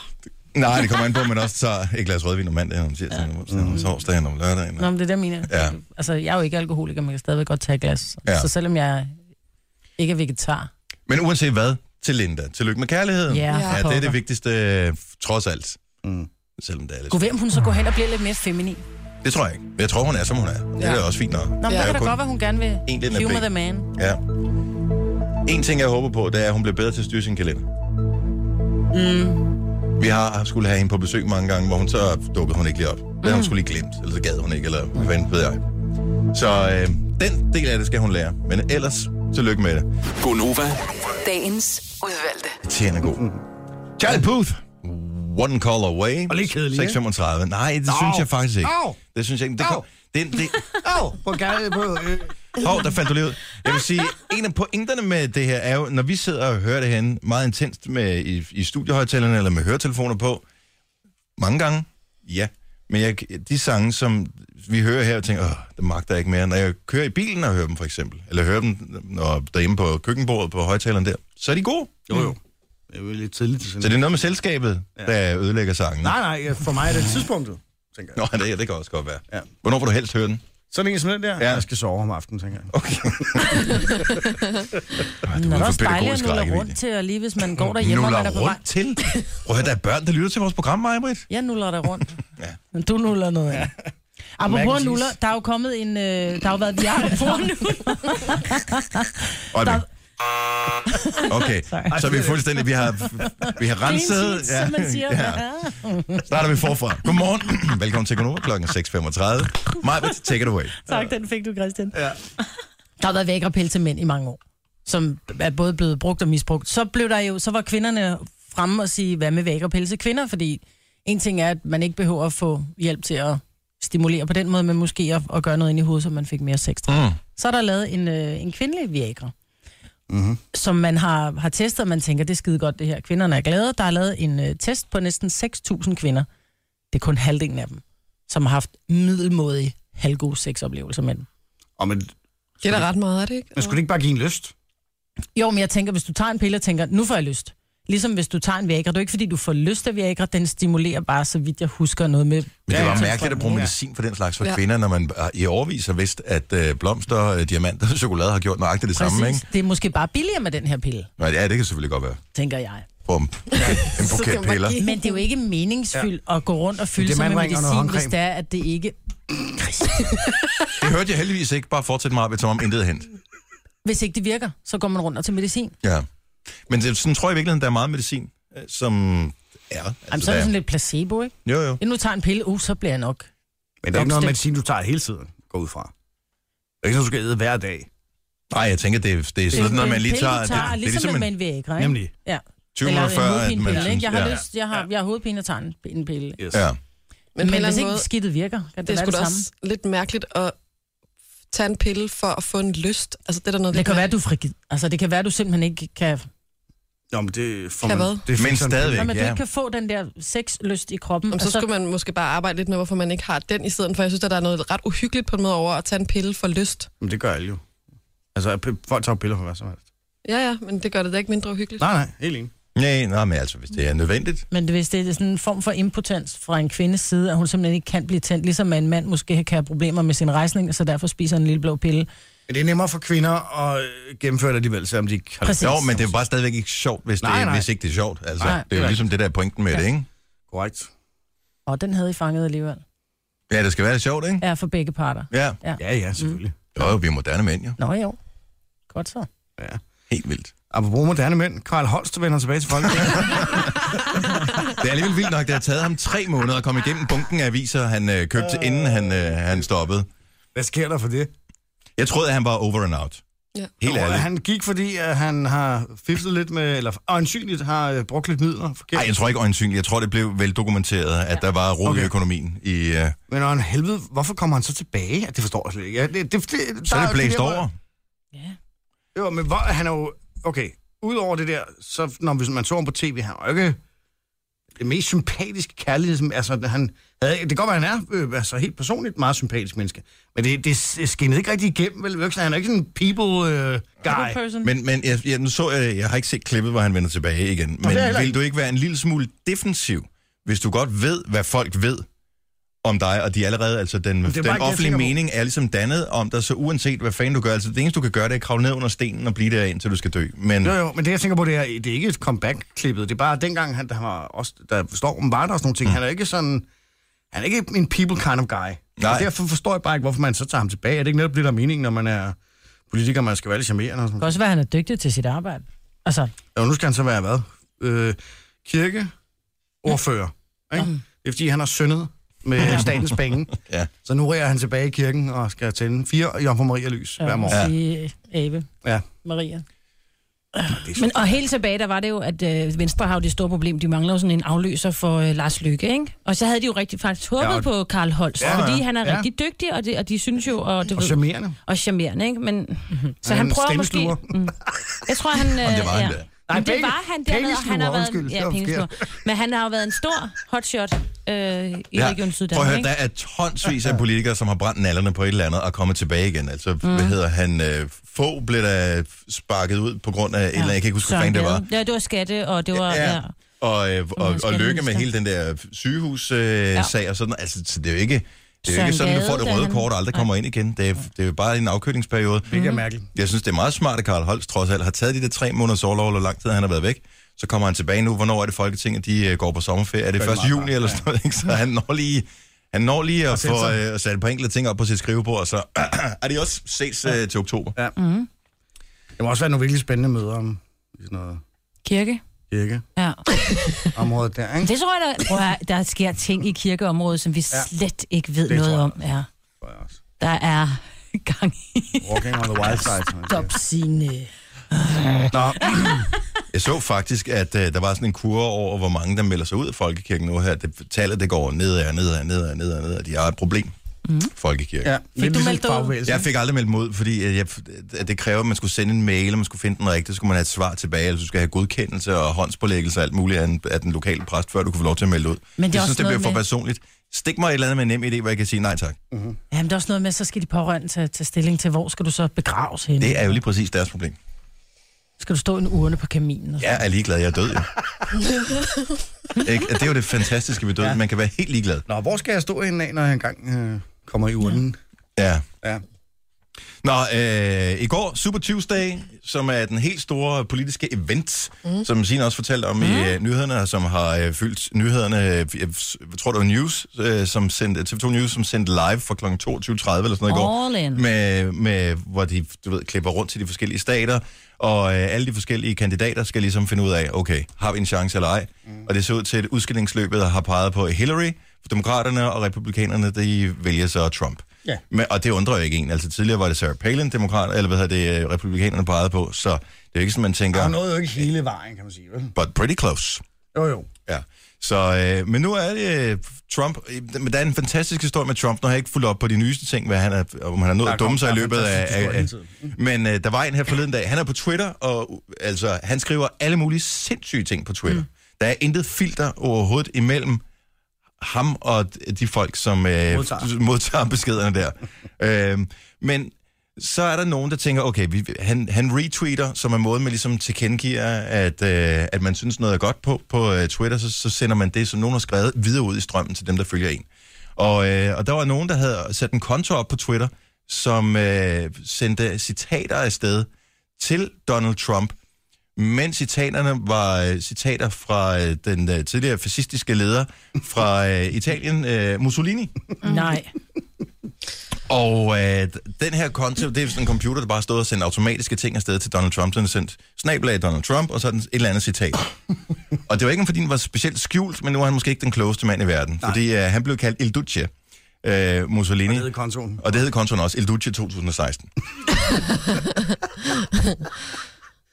A: Nej, det kommer an på, at man også tager et glas rødvin om mandagen, om tirsdagen, om onsdagen, om torsdagen, om lørdagen.
C: Nå, men det er det, jeg mener.
A: Ja.
C: Altså, jeg er jo ikke alkoholiker, man kan stadigvæk godt tage et glas.
A: Ja.
C: Ja. Så selvom jeg ikke er vegetar.
A: Men uanset hvad, til Linda. Tillykke med kærligheden.
C: Ja,
D: Ja,
A: ja det er
C: pokker.
A: det vigtigste, øh, trods alt.
F: Mm.
A: Selvom det er lidt...
C: Gud, hvem hun så går hen og bliver lidt mere feminin.
A: Det tror jeg ikke. Jeg tror, hun er, som hun er. Det
D: Ja.
A: er også fint nok.
C: Nå, men
D: Ja.
C: ja,
A: Der
C: det
A: er
C: kan
A: jo
C: da
A: kun-
C: godt være, hun gerne vil
A: en, den er
C: humor
A: bag.
C: the man.
A: Ja. En ting, jeg håber på, det er, at hun bliver bedre til at styre sin kalender. Mm. Vi har skulle have hende på besøg mange gange, hvor hun så dukkede hun ikke lige op. Det havde
F: Mm.
A: hun skulle lige glemt, eller så gad hun ikke, eller hvad fanden ved jeg. Så øh, den del af det skal hun lære. Men ellers, tillykke med det.
I: Gonova,
H: Dagens udvalgte.
A: Det tjener god.
F: Mm.
A: Charlie Puth. One call away.
F: Og lidt kedelig, ikke?
A: 635. Nej, det synes jeg faktisk ikke.
F: Au.
A: Det synes jeg ikke. Det, kom, det, det,
F: Au, på, gade, på øh,
A: Åh, oh, der faldt du lige ud. Jeg vil sige, en af pointerne med det her er jo, når vi sidder og hører det herinde meget intenst med, i, i studiehøjtalerne eller med høretelefoner på, mange gange, ja. Men jeg, de sange, som vi hører her, jeg tænker, åh, det magter jeg ikke mere. Når jeg kører i bilen og hører dem, for eksempel, eller hører dem når derhjemme på køkkenbordet på højtaleren der, så er de gode.
F: Jo, jo. Det er jo lidt tidligt.
A: Så det er noget med selskabet, der ødelægger sangen.
F: Nej, nej, for mig er det tidspunktet, tænker jeg.
A: Nå, det, det kan også godt være.
F: Ja.
A: Hvornår vil du helst høre den?
F: Sådan en som den der,
A: Ja.
F: ja. jeg skal sove om aftenen, tænker jeg.
E: [LAUGHS]
A: Okay. Ej, du
E: Men det
A: er
E: er
A: for
E: også dejligt at
A: pædagogisk
E: nulle
A: rækkevidde.
E: rundt til, og lige hvis man går derhjemme, og man
A: Nuller
E: er på vej.
A: rundt til? Prøv at høre, der er børn, der lytter til vores program, Majbrit.
E: Jeg nuller der rundt.
A: [LAUGHS] Ja.
C: Men du nuller noget af.
F: Mac and
C: Apropos
F: cheese.
C: nuller, der er jo kommet en... Øh, der har jo
E: [LAUGHS]
C: været... Jeg [LAUGHS]
A: Øjeblik. Okay,
C: Sorry.
A: så er vi fuldstændig, vi har, vi har renset.
C: ja. som man siger. Ja.
A: Starter vi forfra. Godmorgen. [CLEARS THROAT] Velkommen til Konoba klokken er 6.35. Majbrit, take it away.
C: Tak, den fik du, Christian. Ja. Der har været vægrepille til mænd i mange år, som er både blevet brugt og misbrugt. Så blev der jo, så var kvinderne fremme og sige, hvad med vægrepille til kvinder, fordi en ting er, at man ikke behøver at få hjælp til at stimulere på den måde, men måske at, at gøre noget ind i hovedet, så man fik mere sex. Mm. Så er der lavet en, øh, en kvindelig Viagra, mm-hmm. som man har, har testet, og man tænker, det er skide godt det her. Kvinderne er glade. Der er lavet en øh, test på næsten 6.000 kvinder. Det er kun halvdelen af dem, som har haft middelmodige, halvgode sexoplevelser med dem.
F: Og men,
D: Det er da ret meget, er det ikke?
F: men skulle det ikke bare give en lyst?
C: Jo, men jeg tænker, hvis du tager en pille og tænker, nu får jeg lyst. Ligesom hvis du tager en Viagra. Det er jo ikke, fordi du får lyst af Viagra. Den stimulerer bare, så vidt jeg husker, noget med...
A: Men det
F: Ja,
A: var
F: ja.
A: mærkeligt at bruge medicin for den slags for
D: Ja.
A: kvinder, når man øh, i overvis har vidst, at øh, blomster, øh, diamanter og chokolade har gjort nøjagtigt det samme, ikke?
C: Det er måske bare billigere med den her pille,
A: Nå, ja, det kan selvfølgelig godt være.
C: tænker jeg.
A: Bum. En
D: Så skal
A: buket
D: man
A: piller.
D: give-
C: Men det er jo ikke meningsfyldt ja. at gå rundt og
F: Det
C: fylde
F: er
C: sig med
F: mandringer og noget
C: medicin, hvis
F: håndcreme.
C: det er, at det ikke...
A: Det hørte jeg heldigvis ikke. Bare fortsæt Majbrit, som om intet er hent.
C: Hvis ikke det virker, så går man rundt og til medicin.
A: Ja. Men det, sådan tror jeg i virkeligheden, der er meget medicin, øh, som er. Altså,
C: Jamen, så er
A: der
C: det sådan lidt placebo, ikke?
A: Jo, jo.
C: Ja, nu tager jeg en pille, uh, så bliver jeg nok.
F: Men det er ikke noget
C: Opstik.
F: medicin, du tager hele tiden, går ud fra. Det er ikke sådan, du skal æde hver dag.
A: Nej, jeg tænker, det, er- det er sådan, når man lige
C: pille,
A: tager...
C: du
A: Det,
C: tager
A: det er
C: ligesom,
A: ligesom
C: med
A: en
C: en Viagra, ikke?
F: Nemlig.
C: Ja.
A: 20
C: Eller
A: minutter
C: en
A: før, at man...
C: hovedpinepille, ikke? Jeg har,
A: ja.
C: lyst, jeg har, jeg har hovedpine, jeg tager en, en pille.
F: Yes.
A: Ja.
D: Men,
C: Men,
D: på en
C: Men
D: eller
C: hvis
D: anden
C: ikke
D: måde,
C: skidtet virker, kan det,
D: det er sgu
C: være det
D: da
C: samme.
D: også lidt mærkeligt at tage en pille for at få en lyst. Altså, det er der noget,
C: Det kan
D: lidt
C: være, du er frigid. Altså, det kan være, du simpelthen ikke kan...
F: Nå, men det får
D: Kan
F: man...
D: hvad?
F: Det
A: ligesom- Men
F: sådan-
A: stadigvæk,
C: Nå, men du
A: ja.
C: ikke kan få den der sexlyst i kroppen. altså-
D: Jamen, så skulle man måske bare arbejde lidt med, hvorfor man ikke har den i stedet for. Jeg synes, at der er noget ret uhyggeligt på en måde over at tage en pille for lyst.
F: Men det gør alle jo. Altså, p- folk tager jo piller for hvad som helst.
D: Ja, ja, men det gør det da ikke mindre uhyggeligt.
F: Nej, nej, helt enig.
A: Nej, nej, men altså, hvis det er nødvendigt.
C: Men hvis det er sådan en form for impotens fra en kvindes side, at hun simpelthen ikke kan blive tændt, ligesom en mand måske kan have problemer med sin rejsning, så derfor spiser en lille blå pille.
F: Men det er nemmere for kvinder at øh, gennemføre det alligevel, selvom de ikke har
C: Præcis.
A: Jo, men det er jo bare stadigvæk ikke sjovt, hvis, det,
F: Nej,
A: nej.
F: nej.
A: hvis ikke det er sjovt. Altså,
F: Nej,
A: det er jo ligesom det der er pointen med ja. det, ikke?
F: Korrekt.
C: Og den havde I fanget alligevel.
A: Ja, det skal være sjovt, ikke?
C: Ja, for begge parter.
A: Ja.
F: Ja, ja, selvfølgelig. Mm.
A: Jo, jo, vi er moderne mænd, jo.
C: Nå jo. Godt så.
F: Ja.
A: Helt vildt.
F: Apropos moderne mænd, Karl Holst vender tilbage
A: [LAUGHS]
F: til Folketinget.
A: Det er alligevel vildt nok, det har taget ham tre måneder at komme igennem bunken af aviser, han øh, købte, inden han, øh, han stoppede.
F: Hvad sker der for det?
A: Jeg troede, at han var over and out.
D: Ja.
A: Helt
F: Nå,
A: ærligt.
F: Han gik, fordi at han har fiflet lidt med, eller øjensynligt har øh, brugt lidt midler forkert.
A: Nej, jeg tror ikke øjensynligt. Jeg tror, det blev vel dokumenteret, at der var ro i
F: Okay.
A: økonomien. I, øh,
F: Men når han helvede, hvorfor kommer han så tilbage? Ja, Det forstår jeg slet ikke. Ja, det, det, det,
A: så er det blæst
F: der,
A: over.
C: Ja.
F: Hvor, jo, men hvor, han er jo... Okay, udover det der, så når hvis man så ham på tv, han var jo ikke det mest sympatiske kærlighed, som, altså, han havde, det kan godt være, han er øh, altså, helt personligt et meget sympatisk menneske, men det, det skinnede ikke rigtig igennem, vel? Det var ikke sådan- Han er ikke sådan en øh, people-guy.
C: Person.
A: Men, men jeg, jeg, nu så jeg, jeg har ikke set klippet, hvor han vender tilbage igen. Men
F: det er heller
A: vil
F: ikke.
A: du ikke være en lille smule defensiv, hvis du godt ved, hvad folk ved om dig, og de allerede, altså
F: det er bare
A: den, den
F: ikke det, jeg
A: offentlige
F: tænker på.
A: mening er ligesom dannet om dig, så uanset hvad fanden du gør, altså det eneste du kan gøre, det er at kravle ned under stenen og blive der indtil du skal dø. Men
F: Jo, jo, men det jeg tænker på, det er, det er ikke et comeback-klippet. Det er bare, at dengang han, der, var også, der stormen var der også nogle ting. Mm. Han er ikke sådan... Han er ikke en people kind of guy.
A: Nej.
F: Og derfor forstår jeg bare ikke, hvorfor man så tager ham tilbage. Er det ikke netop det, der er meningen, når man er politiker, man skal være lidt charmerende? Og sådan?
C: Det kan også være, at han er dygtig til sit arbejde. Altså,
F: Jo, nu skal han så være hvad? Øh, kirke, ordfører. Ikke? Det er fordi, han har syndet med statens penge. [LAUGHS]
A: Ja.
F: Så nu ræger han tilbage i kirken og skal tænde fire Jomfru Maria lys hver morgen.
C: sige, Abe,
F: Ja.
C: Maria.
E: Men, og helt tilbage, der var det jo, at øh, Venstre har jo det store problem. De mangler jo sådan en afløser for øh, Lars Lykke, ikke? Og så havde de jo rigtig faktisk håbet
F: Ja,
E: ja,
F: og-
E: på Karl Holst,
F: Ja,
E: ja, fordi
F: ja,
E: han er
F: ja.
E: ja. rigtig dygtig, og, det, og de synes jo... Og, du
F: Og
E: ved-
F: charmerende. Mhm.
E: Og charmerende, ikke? Men, mm-hmm. Så
F: Han er
E: han
F: en
E: prøver måske...
F: stemmesluger.
E: Mm, jeg tror,
F: [LAUGHS]
E: han... Øh,
A: Om det var han
E: ja.
A: da.
F: Nej,
E: Men det
F: penge-
E: var han dernede, og han
F: pengesluger,
E: har været...
F: undskyld, det
E: ja,
F: var
E: pengesluger. Men han har jo været en stor hotshot øh, i ja. Region
A: Prøv at
E: Syddanmark,
A: høre, der
E: ikke?
A: er tonsvis af politikere, som har brændt nallerne på et eller andet og kommet tilbage igen. Altså, mm. hvad hedder han? Øh, få blev der sparket ud på grund af et eller andet. Jeg kan ikke huske, hvad
E: Søren
A: fanden det var.
E: Gade. Ja, det var skatte, og det var... Ja.
A: Ja.
E: ja.
A: Og, øh, og, og lykke med
E: skatteminister.
A: hele den der sygehussag øh, sag og sådan. Altså, så det er jo ikke, det er jo
E: Søren
A: ikke sådan, at du
E: Gade,
A: får det
E: da
A: røde
E: han-
A: kort og aldrig kommer ind igen. Det er, det er jo bare en afkølingsperiode.
F: Det er mærkeligt.
A: Jeg synes, det er meget smart, at Karl Holst trods alt har taget de der tre måneders overlov, eller hvor lang tid han har været væk. Så kommer han tilbage nu. Hvornår er det Folketinget, de øh, går på sommerferie? Er det 1. juni eller sådan noget? Ikke? Så han når lige, han når lige at
F: sætte
A: få øh, sat et par enkelte ting op på sit skrivebord, og så [CLEARS THROAT] er de også ses øh, til oktober.
F: Ja. Mm. Det må også være nogle virkelig spændende møder om i sådan noget
E: Kirke.
F: kirke
E: Ja.
F: området der, ikke?
E: Det tror jeg, der, prøv at, høre, der sker ting i kirkeområdet, som vi slet ikke ved
F: det
E: noget
F: tror jeg.
E: om. Ja.
F: tror jeg også.
E: Der er gang i...
F: Walking on the wild side. som man siger.
C: Stop sine...
F: Nå,
A: Jeg så faktisk, at øh, der var sådan en kurve over, hvor mange der melder sig ud af folkekirken nu her. Det, tallet det går nedad, nedad, nedad, nedad, nedad. De har et problem. Mm. Folkekirken.
F: ja. Lidt ligesom
C: Mhm. meldt dig ud?
F: fagbevægelsen,
A: Jeg fik aldrig meldt mig ud, fordi at jeg, at det kræver, at man skulle sende en mail, og man skulle finde den rigtige, så skulle man have et svar tilbage, eller du skulle have godkendelse og håndspålæggelse og alt muligt af den, af den lokale præst, før du kunne få lov til at melde ud.
C: Men det er
A: jeg
C: også
A: synes, det
C: noget
A: bliver for
C: med-
A: personligt. Stik mig et eller andet med en nem idé, hvor jeg kan sige nej tak.
C: [CLEARS THROAT]
F: Mhm.
C: Jamen, der er også noget med, at så skal de pårørende tage, tage stilling til, hvor skal du så begraves henne?
A: Det er jo lige præcis deres problem.
C: Skal du stå i en urne på kaminen? Og
A: Jeg er ligeglad, jeg er død,
C: [LAUGHS]
A: jo. Ikke? Og Det er jo det fantastiske ved døden. Man kan være helt ligeglad.
F: Nå, hvor skal jeg stå henne af, når jeg engang øh, kommer i urnen?
A: Ja.
F: Ja.
A: Nå, øh, i går, Super Tuesday, som er den helt store politiske event, mm. som Signe også fortalte om mm. i øh, nyhederne, og som har øh, fyldt nyhederne, øh, jeg s- tror det var News, øh, som sendte, TV2 News, som sendte live fra kl. 22.30 eller sådan noget i går,
E: All in.
A: med, med, hvor de du ved, klipper rundt til de forskellige stater, og øh, alle de forskellige kandidater skal ligesom finde ud af, okay, har vi en chance eller ej? Mm. Og det ser ud til, at udskillingsløbet har peget på Hillary, demokraterne og republikanerne, de vælger så Trump.
F: Ja.
A: Men, og det undrer jo ikke en. Altså tidligere var det Sarah Palin, demokrat, eller hvad hedder det, øh, republikanerne pegede på, så det er jo ikke sådan, man tænker,
F: Der er noget jo ikke hele vejen, kan man sige, vel?
A: but pretty close.
F: Jo, jo.
A: Ja. Så, øh, men nu er det øh, Trump. Øh, Men der er en fantastisk historie med Trump. Nu har jeg ikke fulgt op på de nyeste ting, hvad han er, om han har nået
F: Der
A: at dumme
F: kom-
A: sig i
F: der er
A: løbet af...
F: fantastisk
A: af,
F: historie
A: af
F: hele Mm.
A: men øh, der var en her forleden dag. Han er på Twitter, og uh, altså, han skriver alle mulige sindssyge ting på Twitter. Mm. Der er intet filter overhovedet imellem ham og d- de folk, som øh,
F: Modtager.
A: modtager. modtager beskederne der. øhm, men så er der nogen, der tænker, okay, vi, han, han retweeter, som er måden, man ligesom tilkendegiver, at, øh, at man synes noget er godt på på øh, Twitter, så, så sender man det, som nogen har skrevet, videre ud i strømmen til dem, der følger en. Og, øh, og der var nogen, der havde sat en konto op på Twitter, som øh, sendte citater afsted til Donald Trump, men citaterne var øh, citater fra øh, den øh, tidligere fascistiske leder fra øh, Italien, øh, Mussolini.
F: Mm.
C: Nej.
A: Og øh, d- den her konto, det er sådan en computer, der bare stod og sendte automatiske ting afsted til Donald Trump. Så den sendte snablag Donald Trump, og sådan et eller andet citat. og det var ikke, fordi den var specielt skjult, men nu er han måske ikke den klogeste mand i verden. Nej. Fordi øh, han blev kaldt Il Duce, øh, Mussolini.
F: Nede i kontoen.
A: Og det hed kontoen også, El Duce [LAUGHS] 2016.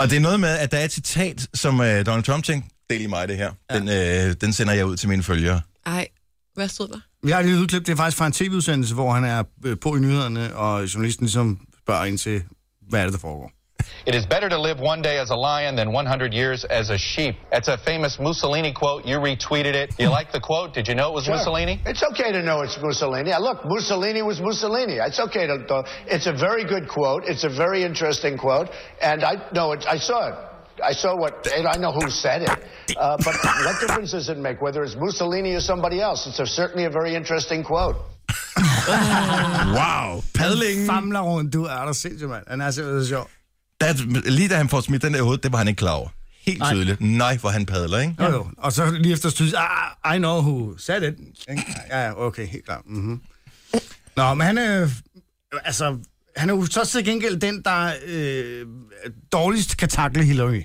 A: og det er noget med, at der er et citat, som øh, Donald Trump tænkte, del i mig det her. Ja. Den, øh, den sender jeg ud til mine følgere.
D: Ej, hvad stod der?
F: Vi har et lille udklip, det er faktisk fra en tv-udsendelse, hvor han er øh, på i nyhederne, og journalisten ligesom spørger ind til, hvad er det, der foregår.
I: It is better to live one day as a lion than 100 years as a sheep. That's a famous Mussolini quote. You retweeted it. You like the quote? Did you know it was Mussolini?
J: It's okay to know it's Mussolini. Uh, Look, Mussolini was Mussolini. It's okay to. to- It's a very good quote. It's a very interesting quote, and I know it. I saw it. I saw what, and I know who said it. Uh, but what difference does it make whether it's Mussolini or somebody else? It's a, certainly a very interesting quote. Ah.
F: Wow! Padlingen famler rundt, du er der sindssygt, mand. Han er simpelthen sjov.
A: Der, lige da han får smidt den der i hovedet, det var han ikke klar over. Helt Nej. tydeligt. Nej, hvor han padler, ikke?
F: Jo, jo. Og så lige efter stødes, ah, I know who said it. Ikke? Ja, ja, okay, helt klart. Mm-hmm. Nå, men han er, altså, han er jo så til gengæld den, der øh, dårligst kan takle Hillary,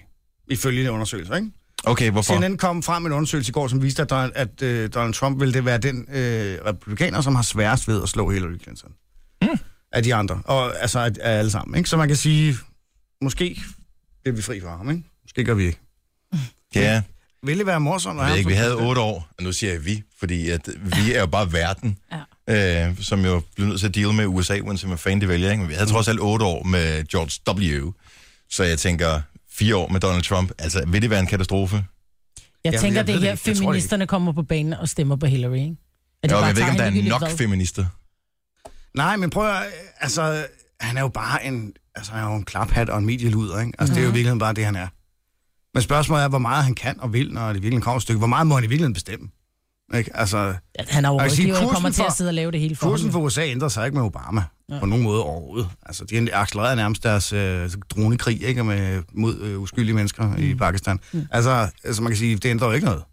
F: ifølge de undersøgelser, ikke?
A: Okay, hvorfor?
F: CNN kom frem med en undersøgelse i går, som viste, at, Don- at øh, Donald Trump ville det være den øh, republikaner, som har sværest ved at slå Hillary Clinton. Mm.
A: Hmm.
F: Af de andre. Og altså af, af alle sammen. Ikke? Så man kan sige, måske bliver vi fri fra ham, ikke? Måske gør vi ikke.
A: Ja,
F: Vil det være morsomt? at
A: jeg ved
F: have
A: ikke, vi
F: ham som
A: havde
F: præsident?
A: otte år, og nu siger jeg vi, fordi at vi er jo bare verden, ja. øh, som jo bliver nødt til at deal med USA, uanset hvad fanden de vælger. Ikke? Men vi havde trods alt otte år med George W. Så jeg tænker, fire år med Donald Trump, altså vil det være en katastrofe?
C: Jeg
F: Jamen,
C: tænker,
F: jeg
C: det er
F: ved det ikke.
C: her,
F: Jeg tror det
C: feministerne kommer på banen og stemmer på Hillary, ikke? At de
A: Jo,
C: bare
A: jeg ved ikke,
C: tager
A: om der
C: hende
A: er nok
C: ligegyldigt hvad.
A: feminister.
F: Nej, men prøv at, høre, altså, han er jo bare en, altså, han er jo en klaphat og en medieluder, ikke? Altså, mm. det er jo i virkeligheden bare det, han er. Men spørgsmålet er, hvor meget han kan og vil, når det virkelig kommer et stykke. Hvor meget må han i virkeligheden bestemme? Ikke? Altså,
C: At han er jo
F: Jeg kan sige,
C: rådgiver og
F: kursen
C: kommer til
F: for-
C: at sidde og lave det hele for
F: kursen
C: ham.
F: for USA ændrer sig ikke med Obama ja. på nogen måde overhovedet. Altså, de accelererer nærmest deres øh, dronekrig ikke? Med, mod øh, uskyldige mennesker mm. i Pakistan. Mm. Altså, altså, man kan sige, det ændrer jo ikke noget.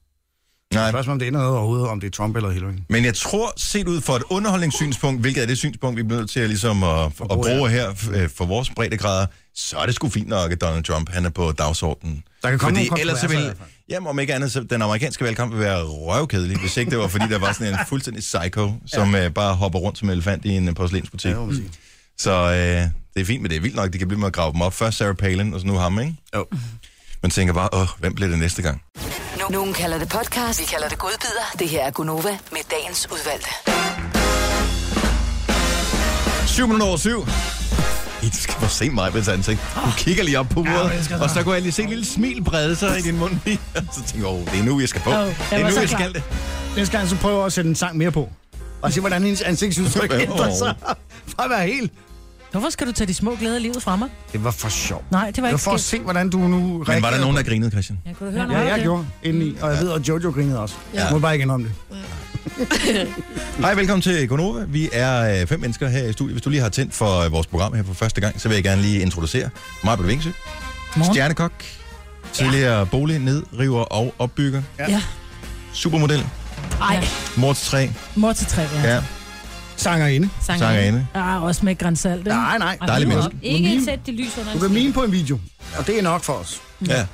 A: Nej.
F: Spørgsmålet er, om det ændrer noget overhovedet, om det er Trump eller Hillary.
A: Men jeg tror, set ud fra et underholdningssynspunkt, hvilket er det synspunkt, vi bliver nødt til at, ligesom at, at bruge her øh, for vores breddegrader, så er det sgu fint nok, at Donald Trump han er på dagsordenen.
F: Der kan komme
A: fordi
F: nogle
A: ellers så
F: kontroverser i
A: vil,
F: hvert fald.
A: jamen om ikke andet, så den amerikanske valgkamp vil være røvkedelig, hvis ikke det var, fordi der
F: [LAUGHS]
A: var sådan en fuldstændig psycho, som øh, bare hopper rundt som en elefant i en øh, porcelænsbutik.
F: Ja, må man sige.
A: Så øh, det er fint, men det er vildt nok, de kan blive med at grave dem op. Først Sarah Palin, og så nu ham, ikke?
F: Jo.
A: Man tænker bare, åh, hvem bliver det næste gang?
H: Nu- Nogen kalder det podcast, vi kalder det godbider. Det her er Gunova med dagens udvalgte.
A: 7 minutter over 7. I skal bare se mig med ansigt. Du kigger lige op på uret, og så kunne jeg lige se et lille smil brede sig i din mund. lige. [LAUGHS] Og så tænker jeg, åh, det er nu, jeg skal på.
C: Åh, jeg
A: det
C: var
A: er nu,
C: så
A: jeg
C: klar.
A: skal det.
F: Næste gang, så prøver jeg altså at sætte en sang mere på. Og se, hvordan hendes ansigtsudtryk
A: Hvad?
F: ændrer sig. Fra at være helt...
C: Hvorfor skal du tage de små glæder i livet fra mig?
F: Det var for sjov.
C: Nej, det var
F: Det var
C: ikke
F: for at
C: skidt.
F: se, hvordan du nu
A: Men var der
F: reagerede
A: nogen,
F: på
A: der grinede, Christian?
E: Ja, kunne du høre
F: det?
E: noget
F: Ja,
E: om
F: jeg
E: det?
F: gjorde indeni, og jeg ved, at Jojo grinede også. Ja. Jeg må bare ikke indrømme det.
A: Hej, velkommen til Gonova. Vi er øh, fem mennesker her i studiet. Hvis du lige har tændt for øh, vores program her for første gang, så vil jeg gerne lige introducere Marbet Vingsø, stjernekok, tidligere bolig, nedriver og opbygger,
E: Ja.
A: supermodel,
C: Ej,
A: mor til tre,
C: mor til tre, ja.
A: ja,
F: Sangerinde.
A: sangerinde.
C: Ah, også med grænsalt, ikke?
F: Nej, nej.
A: Dejlig
E: Hold
A: menneske.
E: op. Ikke sæt det lys under
F: Du kan
E: en sten.
F: mime [LAUGHS] på en video, og det er nok for os.
A: Ja.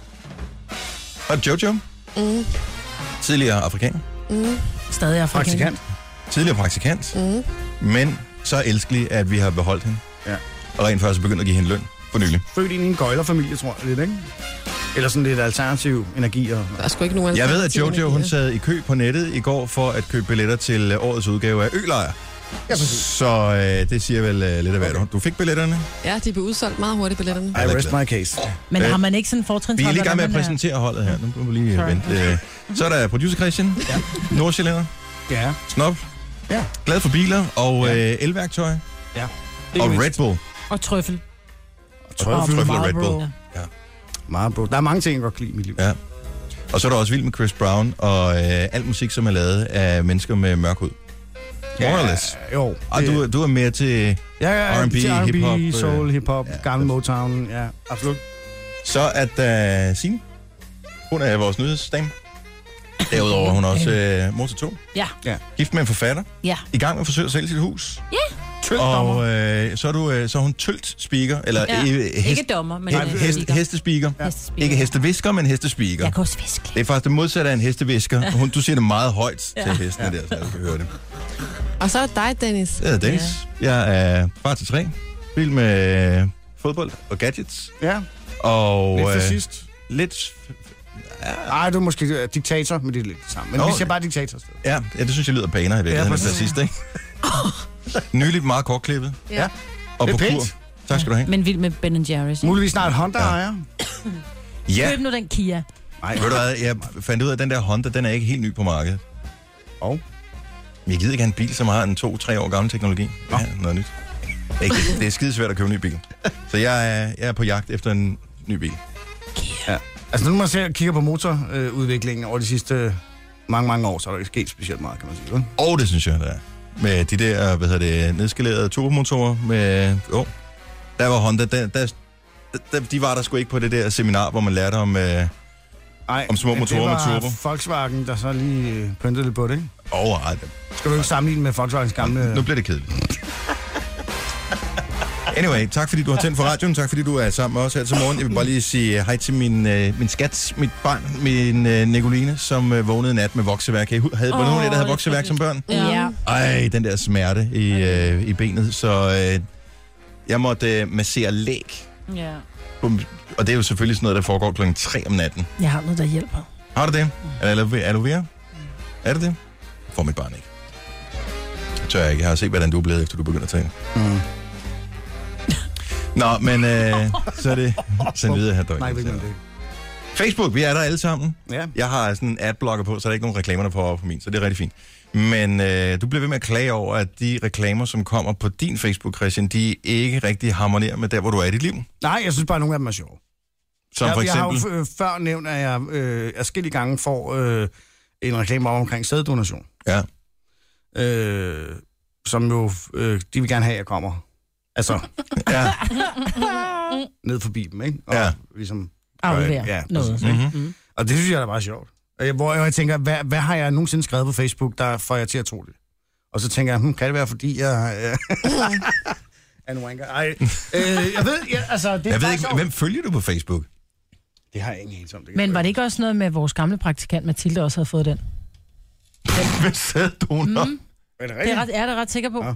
A: Og Jojo. Mm. Tidligere afrikaner.
C: Stadig afrikaner.
F: Praktikant.
A: Tidligere praktikant. Mm. Men så elskelig, at vi har beholdt hende.
F: Ja.
A: Og rent faktisk begyndt at give hende løn for nylig.
F: Født ind i en gøjlerfamilie, tror jeg lidt, ikke? Eller sådan lidt alternativ energi. Og...
D: Der er sgu ikke nogen
A: Jeg ved, at
D: alternative
A: Jojo hun
D: energier.
A: sad i kø på nettet i går for at købe billetter til øh, årets udgave af Ølejr.
F: Ja, præcis.
A: Så øh, det siger vel øh, lidt af hvert. Du fik billetterne.
D: Ja, de blev udsolgt meget hurtigt, billetterne.
F: I rest my case.
C: Men
A: Øh,
C: har man ikke sådan øh, en fortrin?
A: Vi er lige i gang med at præsentere holdet her. Nu må vi lige
C: Sorry.
A: vente. øh. Så er der producer Christian. Ja. Nordsjællænder.
F: Ja.
A: Snop.
F: Ja.
A: Glad for biler og øh, elværktøj.
F: Ja.
A: Og Red Bull.
E: Og trøffel.
A: Trøffel og Red
C: Marlboro.
A: Bull.
F: Meget bro. Der er mange ting, jeg godt kan lide i mit liv.
A: Ja. Og så er du også vild med Chris Brown og øh, al musik, som er lavet af mennesker med mørk hud. More or less.
F: Ja, jo.
A: Og
F: Det-
A: du, du er mere til...
F: Ja, ja,
A: R&B,
F: til
A: hiphop,
F: R&B,
A: øh,
F: soul, hiphop,
A: ja.
F: gammel Motown. Ja, absolut.
A: Så er der uh, Signe. Hun er vores nyhedsdame. Derudover er hun også øh, mor til to.
E: Ja.
F: Ja.
A: Gift med en forfatter.
E: Ja.
A: I gang med at forsøge at sælge sit hus.
F: Tøldommer.
A: Og øh, så, er du, øh, så er hun tølt speaker. Eller
E: Ja.
A: ja. øh, hest,
E: Ikke dommer, men
A: he-
E: øh,
A: hest,
E: speaker.
A: hestespiker.
E: Hestespiker.
A: Ikke hestevisker, men hestespiker.
E: Jeg kan også fiske.
A: Det er faktisk det modsatte af en hestevisker. Hun, du siger det meget højt til hestene der, så jeg kan høre det.
D: Og så er der dig, Dennis.
A: Jeg hedder Dennis. Ja. Jeg er far til tre. Vild med øh, fodbold og gadgets.
F: Ja,
A: Og
F: lidt til
A: øh,
F: sidst.
A: lidt
F: Ej, du er måske øh, diktator, men det er lidt det samme. Men
A: Nå.
F: vi siger bare diktator. i stedet.
A: ja, ja, det synes jeg lyder pænere i virkeligheden ja,
F: præcis.
A: til sidst, ikke?
F: [LAUGHS]
A: Nyligt meget kortklippet.
F: Ja.
A: Og
F: Det er
A: på kur.
F: pænt.
A: Tak skal du have.
E: Men vild med Ben Jerry's. ikke?
F: Muligvis snart Honda-ejer.
A: Ja,
C: Køb nu den Kia.
F: Nej,
A: ved du hvad, jeg fandt ud af, at den der Honda, den er ikke helt ny på markedet.
F: Og?
A: Men Jeg gider ikke have en bil, som har en 2-3 år gammel teknologi. Ja, noget nyt. Ikke, det er skidesvært at købe en ny bil. Så jeg er, jeg er på jagt efter en ny bil.
F: Altså, nu man ser, kigger på motorudviklingen over de sidste mange, mange år, så er der ikke sket specielt meget, kan man sige. vel?
A: Og oh, det synes jeg, der er. Med de der, hvad hedder det, nedskalerede turbomotorer med... Jo, oh, der var Honda, der, der, der, de var der sgu ikke på det der seminar, hvor man lærte om... Øh,
F: Ej,
A: Om små
F: men
A: motorer med
F: det var
A: turbo.
F: Volkswagen, der så lige øh, pyntede lidt på det, ikke?
A: oh, ej,
F: Skal du ikke sammenligne med Volkswagens gamle...
A: nu bliver det kedeligt. Anyway, tak fordi du har tændt for radioen. Tak fordi du er sammen med os her til morgen. Jeg vil bare lige sige hej til min, øh, min skat, mit barn, min øh, Nicoline, som øh, vågnede i nat med vokseværk. Kan I hu- Havde oh, nogen af jer, der havde
E: det er
A: vokseværk som børn?
E: Ja.
A: Ej, den der smerte i, øh, i benet. Så øh, jeg måtte øh, massere læg
E: ja.
A: bum. Og det er jo selvfølgelig sådan noget, der foregår klokken 3 om natten.
C: Jeg har noget, der hjælper.
A: Har du det? Er det aloe- aloe vera? Er det det? Får mit barn ikke. Jeg tør jeg ikke. Jeg har set, hvordan du er blevet, efter du begynder at tale. Mm. Nå, men øh,
F: [LAUGHS]
A: så er det sådan videre her, Døgn.
F: Nej, jeg ved ikke, om det er.
A: Facebook, vi er der alle sammen.
F: Ja.
A: Jeg har sådan en adblocker på, så der er ikke nogen reklamer, der får op på min, så det er rigtig fint. Men øh, du bliver ved med at klage over, at de reklamer, som kommer på din Facebook, Christian, de ikke rigtig harmonerer med der, hvor du er i dit liv.
F: Nej, jeg synes bare, at nogle af dem er sjove.
A: Som
F: jeg,
A: for
F: jeg har
A: eksempel...
F: jo f- øh, før nævnt, at jeg øh, afskillige gange får øh, en reklame om omkring sæddonation.
A: Ja.
F: Øh, som jo, øh, de vil gerne have, at jeg kommer. Altså,
A: [LAUGHS] ja.
F: ned forbi dem, ikke? Og
A: Ja. Mhm.
F: Ligesom,
C: Afleverer
F: Ja, præcis,
C: noget.
F: ikke? Og det synes jeg er meget sjovt. Og jeg- Hvor jeg tænker, hvad, hvad har jeg nogensinde skrevet på Facebook, der får jeg til at tro det? Og så tænker jeg, hmm, kan det være, fordi jeg... Øh, [LAUGHS] er en wanker? Ej, øh, jeg ved, jeg, altså, det er
A: Jeg ved
F: bare
A: ikke,
F: sjovt.
A: hvem følger du på Facebook?
F: Det har jeg ingen anelse om. Det kan
C: Men
F: jeg
C: var det ikke også noget med, at vores gamle praktikant Mathilde også havde fået den?
A: [LAUGHS] Hvem sad du mm.
F: være. Er det
C: Det
F: rigtigt?
C: er, ret, er jeg da ret sikker på.
F: Ja.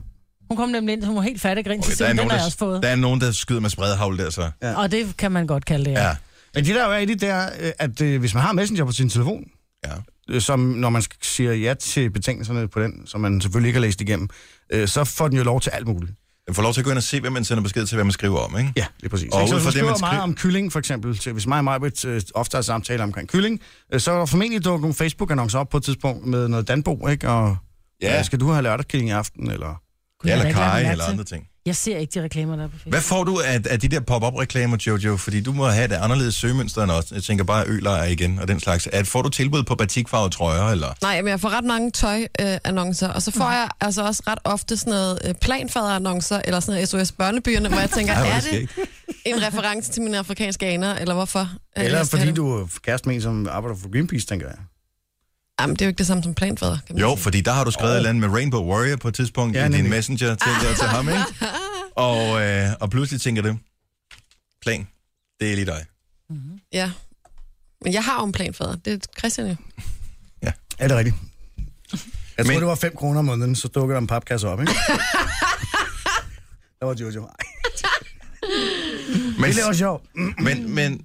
C: Hun kom nemlig ind, så hun var helt fattig grin. Okay,
A: der, er
C: den
A: nogen,
C: har jeg også
A: der,
C: fået.
A: der er nogen, der skyder med spredhavl der, så...
F: Ja.
C: Og det kan man godt kalde det,
A: Ja.
F: Men det der jo er i det, det er, øh, at øh, hvis man har Messenger på sin telefon,
A: ja.
F: øh, som når man sk- siger ja til betingelserne på den, som man selvfølgelig ikke har læst igennem, øh, så får den jo lov til alt muligt.
A: Man får lov til at gå ind og se, hvad man sender besked til, hvad man skriver om, ikke?
F: Ja, det er præcis.
A: Og
F: Ikke? så
A: ud
F: hvis
A: fra
F: man
A: det, man
F: skriver meget
A: skriver-
F: om kylling, for eksempel, til, hvis mig og Majbrit øh, ofte har samtaler omkring kylling, øh, så er der formentlig dukket nogle Facebook-annoncer op på et tidspunkt med noget Danbo, ikke? Og
A: Ja.
F: ja. Ja, skal du have lørdagskilling i aften, eller...
C: Kunne
A: ja
C: jeg
A: eller
C: da ikke lade
A: kaj,
C: mærke
A: eller
C: til.
A: andre ting.
C: Jeg ser ikke de reklamer, der er på Facebook.
A: Hvad får du af, af de der pop-up-reklamer, Jojo? Fordi du må have et anderledes søgemønster end os. Jeg tænker bare ølejr igen og den slags. At, får du tilbud på batikfarvede trøjer, eller?
D: Nej, men jeg får ret mange tøjannoncer, og så får jeg altså også ret ofte sådan noget øh, planfaderannoncer, eller sådan noget SOS Børnebyerne,
A: [LAUGHS]
D: hvor jeg tænker,
A: Ej, hvor er
D: er
A: det
D: det en reference til mine afrikanske aner, eller hvorfor? øh,
F: Eller
D: jeg skal
F: fordi
D: have det?
F: du er kæreste med en, som arbejder for Greenpeace, tænker jeg.
D: Jamen, det er jo ikke det samme som planfader, kan man
A: Jo,
D: sige.
A: fordi der har du skrevet oh. et eller andet med Rainbow Warrior på et tidspunkt
F: Ja,
A: ja, i din
F: nemlig.
A: messenger til, der, til ham, ikke?
F: [LAUGHS]
A: Og, øh, og pludselig tænker det, plan, det er lige dig.
D: Ja. Men jeg har jo en planfader. Det er Christian jo.
F: Er det rigtigt? Jeg tror,
A: Men-
F: det var 5 kroner om måneden, så dukker der en papkasse
D: [LAUGHS]
F: op, ikke? der var Jojo. Ej,
A: Men,
F: Det var sjovt.
A: men, men,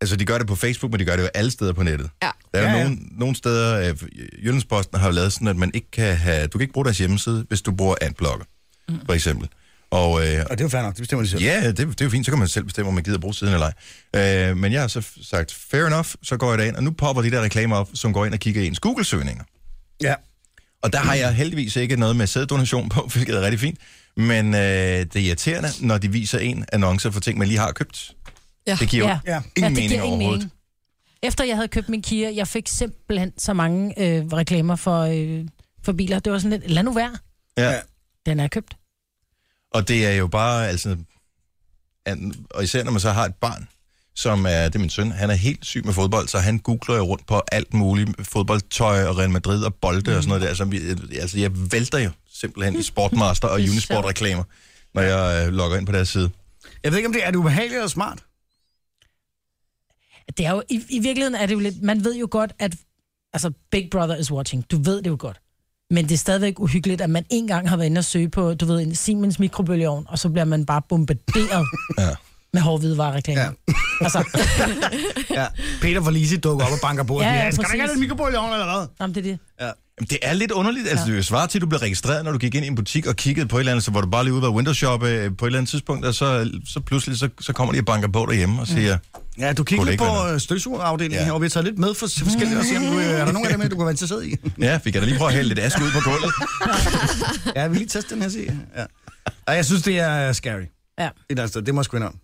A: altså de gør det på Facebook, men de gør det jo alle steder på nettet.
D: Ja.
A: Der er
F: Ja,
A: ja,
F: ja.
A: ja. Nogle, nogle steder, øh, Jyllandsposten har jo lavet sådan, at man ikke kan have, du kan ikke bruge deres hjemmeside, hvis du bruger adblocker, mm. for eksempel. Og, øh,
F: Og det er jo fair nok, det bestemmer de selv.
A: Ja, det, det er jo fint. Så kan man selv bestemme, om man gider bruge siden eller ej. Øh, men jeg har så f- sagt, fair enough, så går jeg derind, og nu popper de der reklamer op, som går ind og kigger i ens Google-søgninger.
F: Ja.
A: Og der har jeg heldigvis ikke noget med sæddonation på, [LAUGHS] hvilket er rigtig fint. Men øh, det er irriterende, når de viser en annoncer for ting, man lige har købt.
D: Ja.
A: Det giver jo
C: Ja.
F: ja.
A: ingen
C: det giver
A: mening
C: ingen
A: overhovedet.
C: mening. Efter jeg havde købt min Kia, jeg fik simpelthen så mange øh, reklamer for, øh, for biler. Det var sådan lidt, lad nu være,
A: Ja.
F: Ja.
C: den er købt.
A: Og det er jo bare, altså... an- Og især når man så har et barn, som er, det er min søn, han er helt syg med fodbold, så han googler jo rundt på alt muligt fodboldtøj og Real Madrid og bolde mm. og sådan noget der. Så vi, altså, jeg vælter jo simpelthen i Sportmaster og Unisport-reklamer, når jeg øh, logger ind på deres side.
F: Jeg ved ikke, om det er det ubehageligt eller smart.
C: Det er jo, i, I virkeligheden er det jo lidt, man ved jo godt, at altså, Big Brother is watching. Du ved det jo godt. Men det er stadigvæk uhyggeligt, at man engang har været inde og søge på, du ved, en Siemens mikrobølgeovn, og så bliver man bare bombarderet
A: [LAUGHS] Ja.
C: med hårde hvidevarereklamer. Ja. Altså,
F: Ja. Peter for Lise dukker op og banker bordet.
C: Ja, ja,
F: skal der ikke have
C: præcis.
F: lidt mikrobølge oven eller hvad?
C: jamen, det er det.
A: Jamen, det er lidt underligt. Altså, det er jo svaret til, at du blev registreret, når du gik ind i en butik og kiggede på et eller andet, så hvor du bare lige ude ved windowshop øh, på et eller andet tidspunkt, og så, så pludselig så, så kommer de og banker på derhjemme og siger, mm.
F: Ja, du
A: Kunne
F: kigger
A: det
F: lidt
A: ikke være
F: på øh, støvsugerafdelingen
A: Ja.
F: her, og vi har taget lidt med for for forskellige, og siger, om du, øh, er der nogen af dem, her, du kunne være interesseret i?
A: ja, vi kan da lige prøve at hælde lidt aske ud på gulvet.
F: Ja, vi lige teste den her, se. Ja. Og jeg synes, det er scary. Et
C: Ja.
F: eller andet sted. Det må jeg sgu indrømme.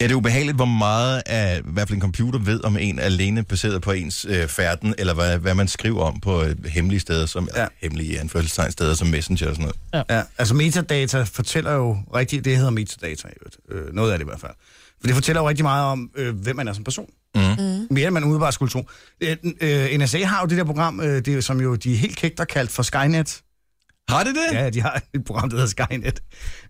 A: Ja, det er ubehageligt, hvor meget af, i hvert fald en computer ved om en alene baseret på ens øh, færden, eller hvad, hvad man skriver om på øh, hemmelige steder, som ja.
F: Ja.
A: hemmelige i anførselstegn steder som Messenger og sådan noget.
F: Ja, altså metadata fortæller jo rigtig, det hedder metadata, i øvrigt. øh, noget af det i hvert fald. For det fortæller jo rigtig meget om, øh, hvem man er som person. Mm.
A: Mm-hmm.
F: Mm. Mere end man udebart skulle tro. Øh, øh, NSA har jo det der program, øh, det, som jo de helt kægt har kaldt for Skynet.
A: Har det det? Ja.
F: Ja, de har et program, der hedder Skynet.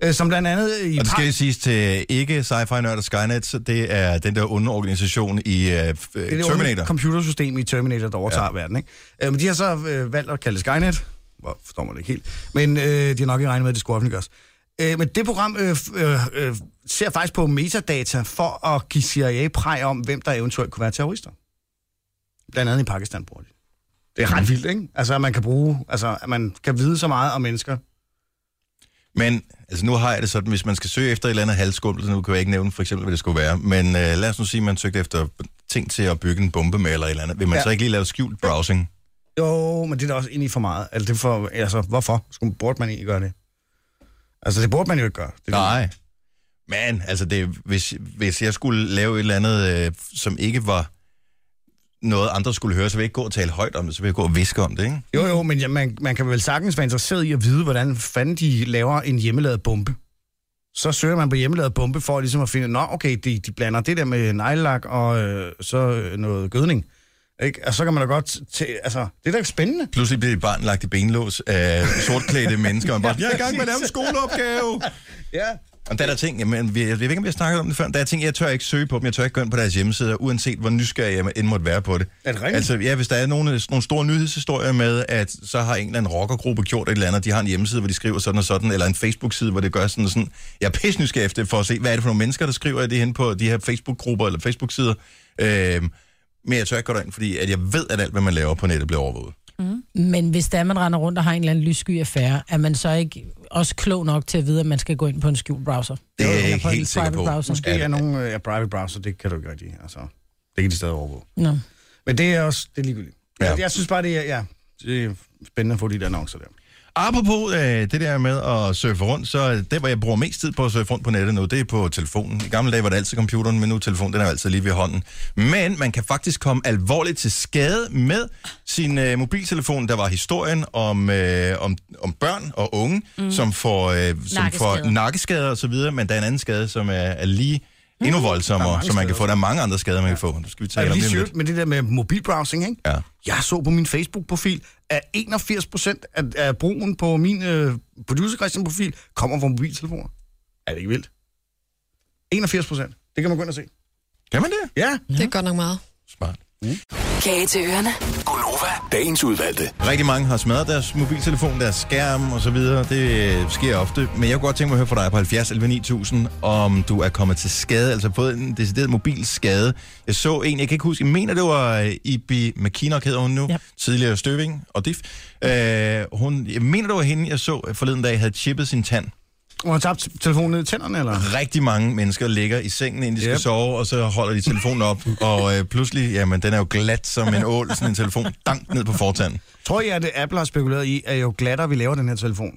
F: Øh, som blandt andet i...
A: Og det skal lige siges til ikke sci-fi nørder Skynet, så det er den der underorganisation i øh, f-
F: Det er det
A: Terminator.
F: onde computersystem i Terminator, der overtager ja. verden. Ikke? Øh, men de har så øh, valgt at kalde det Skynet. Hvor forstår man det ikke helt. Men øh, de har nok ikke regnet med, at det skulle offentliggøres. Øh, men det program øh, f- øh, øh, ser faktisk på metadata for at give CIA præg om, hvem der eventuelt kunne være terrorister. Blandt andet i Pakistan bruger de. Det er ret vildt, ikke? Altså, at man kan bruge, altså, at man kan vide så meget om mennesker.
A: Men altså, nu har jeg det sådan, hvis man skal søge efter et eller andet halvskummel, så nu kan jeg ikke nævne for eksempel, hvad det skulle være, men øh, lad os nu sige, at man søgte efter ting til at bygge en bombe med eller et eller andet. Vil man ja.
F: Ja.
A: så ikke lige lave skjult browsing?
F: Jo, men det er da også ind i for meget. Altså, det er for, altså hvorfor skulle, burde man egentlig gøre det? Altså, det burde man jo ikke gøre. Det,
A: Nej. Men altså, det, hvis, hvis jeg skulle lave et eller andet, øh, som ikke var noget, andre skulle høre, så vil jeg ikke gå og tale højt om det, så vil jeg gå og viske om det, ikke?
F: Jo, jo, men ja, man, man kan vel sagtens være interesseret i at vide, hvordan fanden de laver en hjemmelavet bombe. Så søger man på hjemmelavet bombe for ligesom at finde, nå, okay, de, de blander det der med neglelak og øh, så øh, noget gødning. Ikke? Og så kan man da godt... T- altså, det er da spændende.
A: Pludselig bliver et barn lagt i benlås af sortklædte mennesker,
F: [LAUGHS]
A: og man bare, jeg er i gang med at lave en skoleopgave!
F: Ja.
A: Og der er der ting, jamen, vi, jeg ved ikke, om vi har snakket om det før, men der er ting, jeg tør ikke søge på dem, jeg tør ikke gå ind på deres hjemmesider, uanset hvor nysgerrig jeg end måtte være på det.
F: Er det rigtigt?
A: Altså, ja, hvis der er nogle, nogle store nyhedshistorier med, at så har en eller anden rockergruppe gjort et eller andet, de har en hjemmeside, hvor de skriver sådan og sådan, eller en Facebook-side, hvor det gør sådan og sådan. Jeg er pisse nysgerrig efter for at se, hvad er det for nogle mennesker, der skriver det hen på de her Facebook-grupper eller Facebook-sider. Øhm, men jeg tør ikke gå derind, fordi at jeg ved, at alt, hvad man laver på nettet, bliver overvåget.
C: Mm. Men hvis der man render rundt og har en eller anden lyssky affære, er man så ikke også klog nok til at vide, at man skal gå ind på en skjult browser?
A: Det er
C: Eller
A: jeg ikke
C: på en
A: helt sikker
C: private
A: på.
C: browser?
A: Måske
F: Det er nogle øh, er private browser, det kan du ikke rigtig. Altså, det kan de stadig overvåge.
C: Nå.
F: Men det er også... Det er ligegyldigt.
A: Ja.
F: Ja. Jeg synes bare, det er, ja, det er spændende at få de der annoncer der.
A: Apropos øh, det der med at surfe rundt, så øh, det, hvor jeg bruger mest tid på at surfe rundt på nettet nu, det er på telefonen. I gamle dage var det altid computeren, men nu er telefonen, den er jo altid lige ved hånden. Men man kan faktisk komme alvorligt til skade med sin øh, mobiltelefon. Der var historien om, øh, om, om børn og unge, mm. som får, øh, som får
E: Nakkeskader.
A: nakkeskader og så videre, men der er en anden skade, som er, er lige endnu voldsommere,
F: Mm. mange
A: som man kan
F: skader.
A: få. Der er mange andre skader, man kan få. Nu skal vi
F: Er
A: tale
F: det
A: om
F: lige
A: det om lidt.
F: sjovt med det der med mobilbrowsing, ikke?
A: Ja.
F: Jeg så på min Facebook-profil, at 81 procent af, af brugen på min øh, producer Christian-profil kommer fra mobiltelefoner. Er det ikke vildt? 81 procent. Det kan man gå ind og se.
A: Kan man det?
F: Ja.
D: Det er godt nok meget.
A: Smart.
F: Mm.
H: Kage til ørerne.
K: Gunova, dagens udvalgte.
A: Rigtig mange har smadret deres mobiltelefon, deres skærm og så videre. Det øh, sker ofte. Men jeg kunne godt tænke mig at høre fra dig på 70 11 9000, om du er kommet til skade, altså fået en decideret mobilskade. Jeg så en, jeg kan ikke huske, jeg mener det var øh, Ibi McKinnock hedder hun nu,
C: Ja.
A: ja. tidligere Støving og DIF. Øh, hun, jeg mener det var hende, jeg så øh, forleden dag, havde chippet sin tand
F: Og har tabt telefonen ned i tænderne, eller?
A: rigtig mange mennesker ligger i sengen, inden de skal
F: Yep.
A: sove, og så holder de telefonen
F: [LAUGHS]
A: op, og øh, pludselig, jamen, den er jo glat som en ål, sådan en telefon, dank ned på fortanden.
F: Tror jeg, at det Apple har spekuleret i, at jo glattere vi laver den her telefon,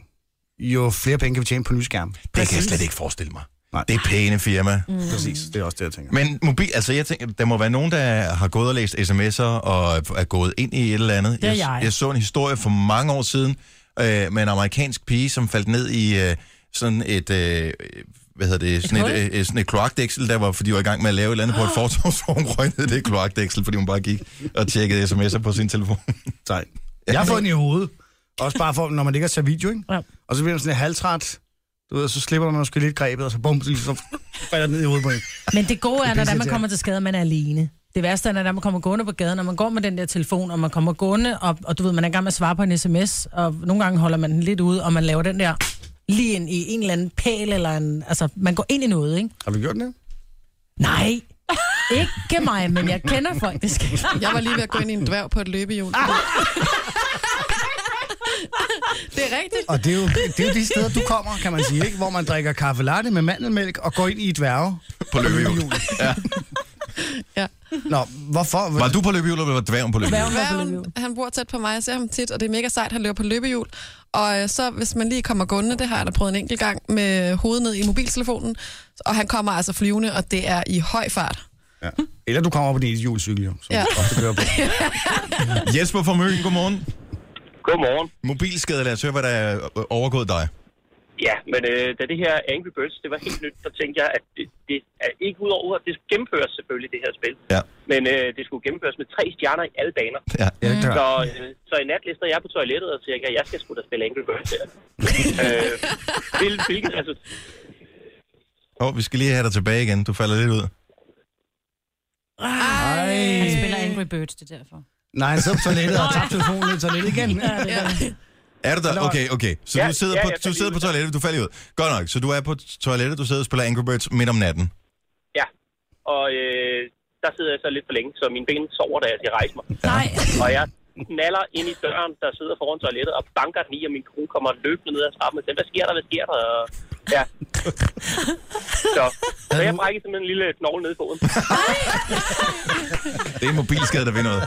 F: jo flere penge kan vi tjene på nye skærme.
A: Det kan jeg slet ikke forestille mig.
F: Nej.
A: Det er pæne firma. Mm.
F: Præcis, det er også det, jeg tænker.
A: Men mobil, altså jeg tænker, der må være nogen, der har gået og læst sms'er og er gået ind i et eller andet.
C: Det er jeg.
A: Jeg så en historie for mange år siden øh, med en amerikansk pige, som faldt ned i øh, sådan et... Øh, hvad hedder det, sådan
E: hul?
A: et, øh, sådan et kloakdæksel, der var, fordi de var i gang med at lave et eller andet på et fortorv, hun røg ned i det kloakdæksel, fordi hun bare gik og tjekkede sms'er på sin
F: [LAUGHS]
A: telefon.
F: Sejt. Jeg har fået den i hovedet. Også bare for, når man ligger og ser video, ikke?
C: Ja.
F: Og så bliver man sådan lidt halvtræt. Du ved, så slipper man måske lidt grebet, og så bum, så falder den ned i hovedet på en.
C: Men det gode er, når
F: Det
C: det er,
F: er
C: man kommer til skade, at man er alene. Det værste er, når det er, man kommer gående på gaden, og man går med den der telefon, og man kommer gående, og, og du ved, man er i gang med at svare på en sms, og nogle gange holder man den lidt ude, og man laver den der lige ind i en eller anden pæl, eller en, altså, man går ind i noget, ikke?
F: Har du gjort det?
C: Nej, ikke mig, men jeg kender folk, det skal
D: [LAUGHS]
C: Ah!
D: Jeg var lige ved at gå ind i en dværg på et løbehjul. det er rigtigt.
F: Og det er, jo, det er jo de steder, du kommer, kan man sige, ikke? Hvor man drikker kaffe latte med mandelmælk og går ind i et værve.
A: På løbehjul. Ja.
D: Ja.
F: Nå, hvorfor?
A: Var du på løbehjul, eller var dværgen på løbehjul?
C: Dværgen. på løbehjul.
D: Dværgen, han bor tæt på mig, jeg ser ham tit, og det er mega sejt, han løber på løbehjul. Og øh, så hvis man lige kommer gående, det har jeg da prøvet en enkelt gang, med hovedet ned i mobiltelefonen, og han kommer altså flyvende, og det er i høj fart.
F: Ja. Eller du kommer op på din hjulcykel, jo, som
D: Ja.
F: ja. ofte kører på.
A: [LAUGHS] Jesper fra Møgen, godmorgen.
K: Godmorgen.
A: Mobilskade, lad os høre, hvad der er øh, overgået dig.
K: Ja, men øh, da det her Angry Birds, det var helt nyt, så tænkte jeg, at det, det er ikke udover, at det gennemføres selvfølgelig, det her spil.
A: Ja.
K: Men øh, det skulle gennemføres med tre stjerner i alle baner.
A: Ja.
F: Ja, det
K: Så,
F: gør.
K: øh, så i nat lister jeg på toilettet og tænker, at jeg skal sgu da spille Angry Birds her. øh, hvil, hvilket, altså,
A: Åh, oh, vi skal lige have dig tilbage igen. Du falder lidt ud.
E: Han spiller Angry Birds, det er derfor.
A: [LAUGHS]
F: [LAUGHS] Nej, han sidder på toilettet og tager telefonen ned i toilettet igen.
D: Ja.
A: Er du der? Okay, okay. Så
K: Ja,
A: du sidder,
K: ja,
A: på,
K: jeg
A: du
K: faldt
A: sidder
K: lige
A: på
K: ud.
A: toilettet, du falder ud. Godt nok, så du er på toilettet, du sidder og spiller Angry Birds midt om natten.
K: Ja, og øh, der sidder jeg så lidt for længe, så mine ben sover, da jeg skal rejse mig. Nej. [LAUGHS] Og jeg knaller ind i døren, der sidder foran toilettet, og banker den i, og min kone kommer løbende ned ad trappen og siger, hvad sker der, hvad sker der? Og, ja. Så, så jeg brækker simpelthen en lille knogle ned i foden.
A: Det er mobilskade, der vil noget.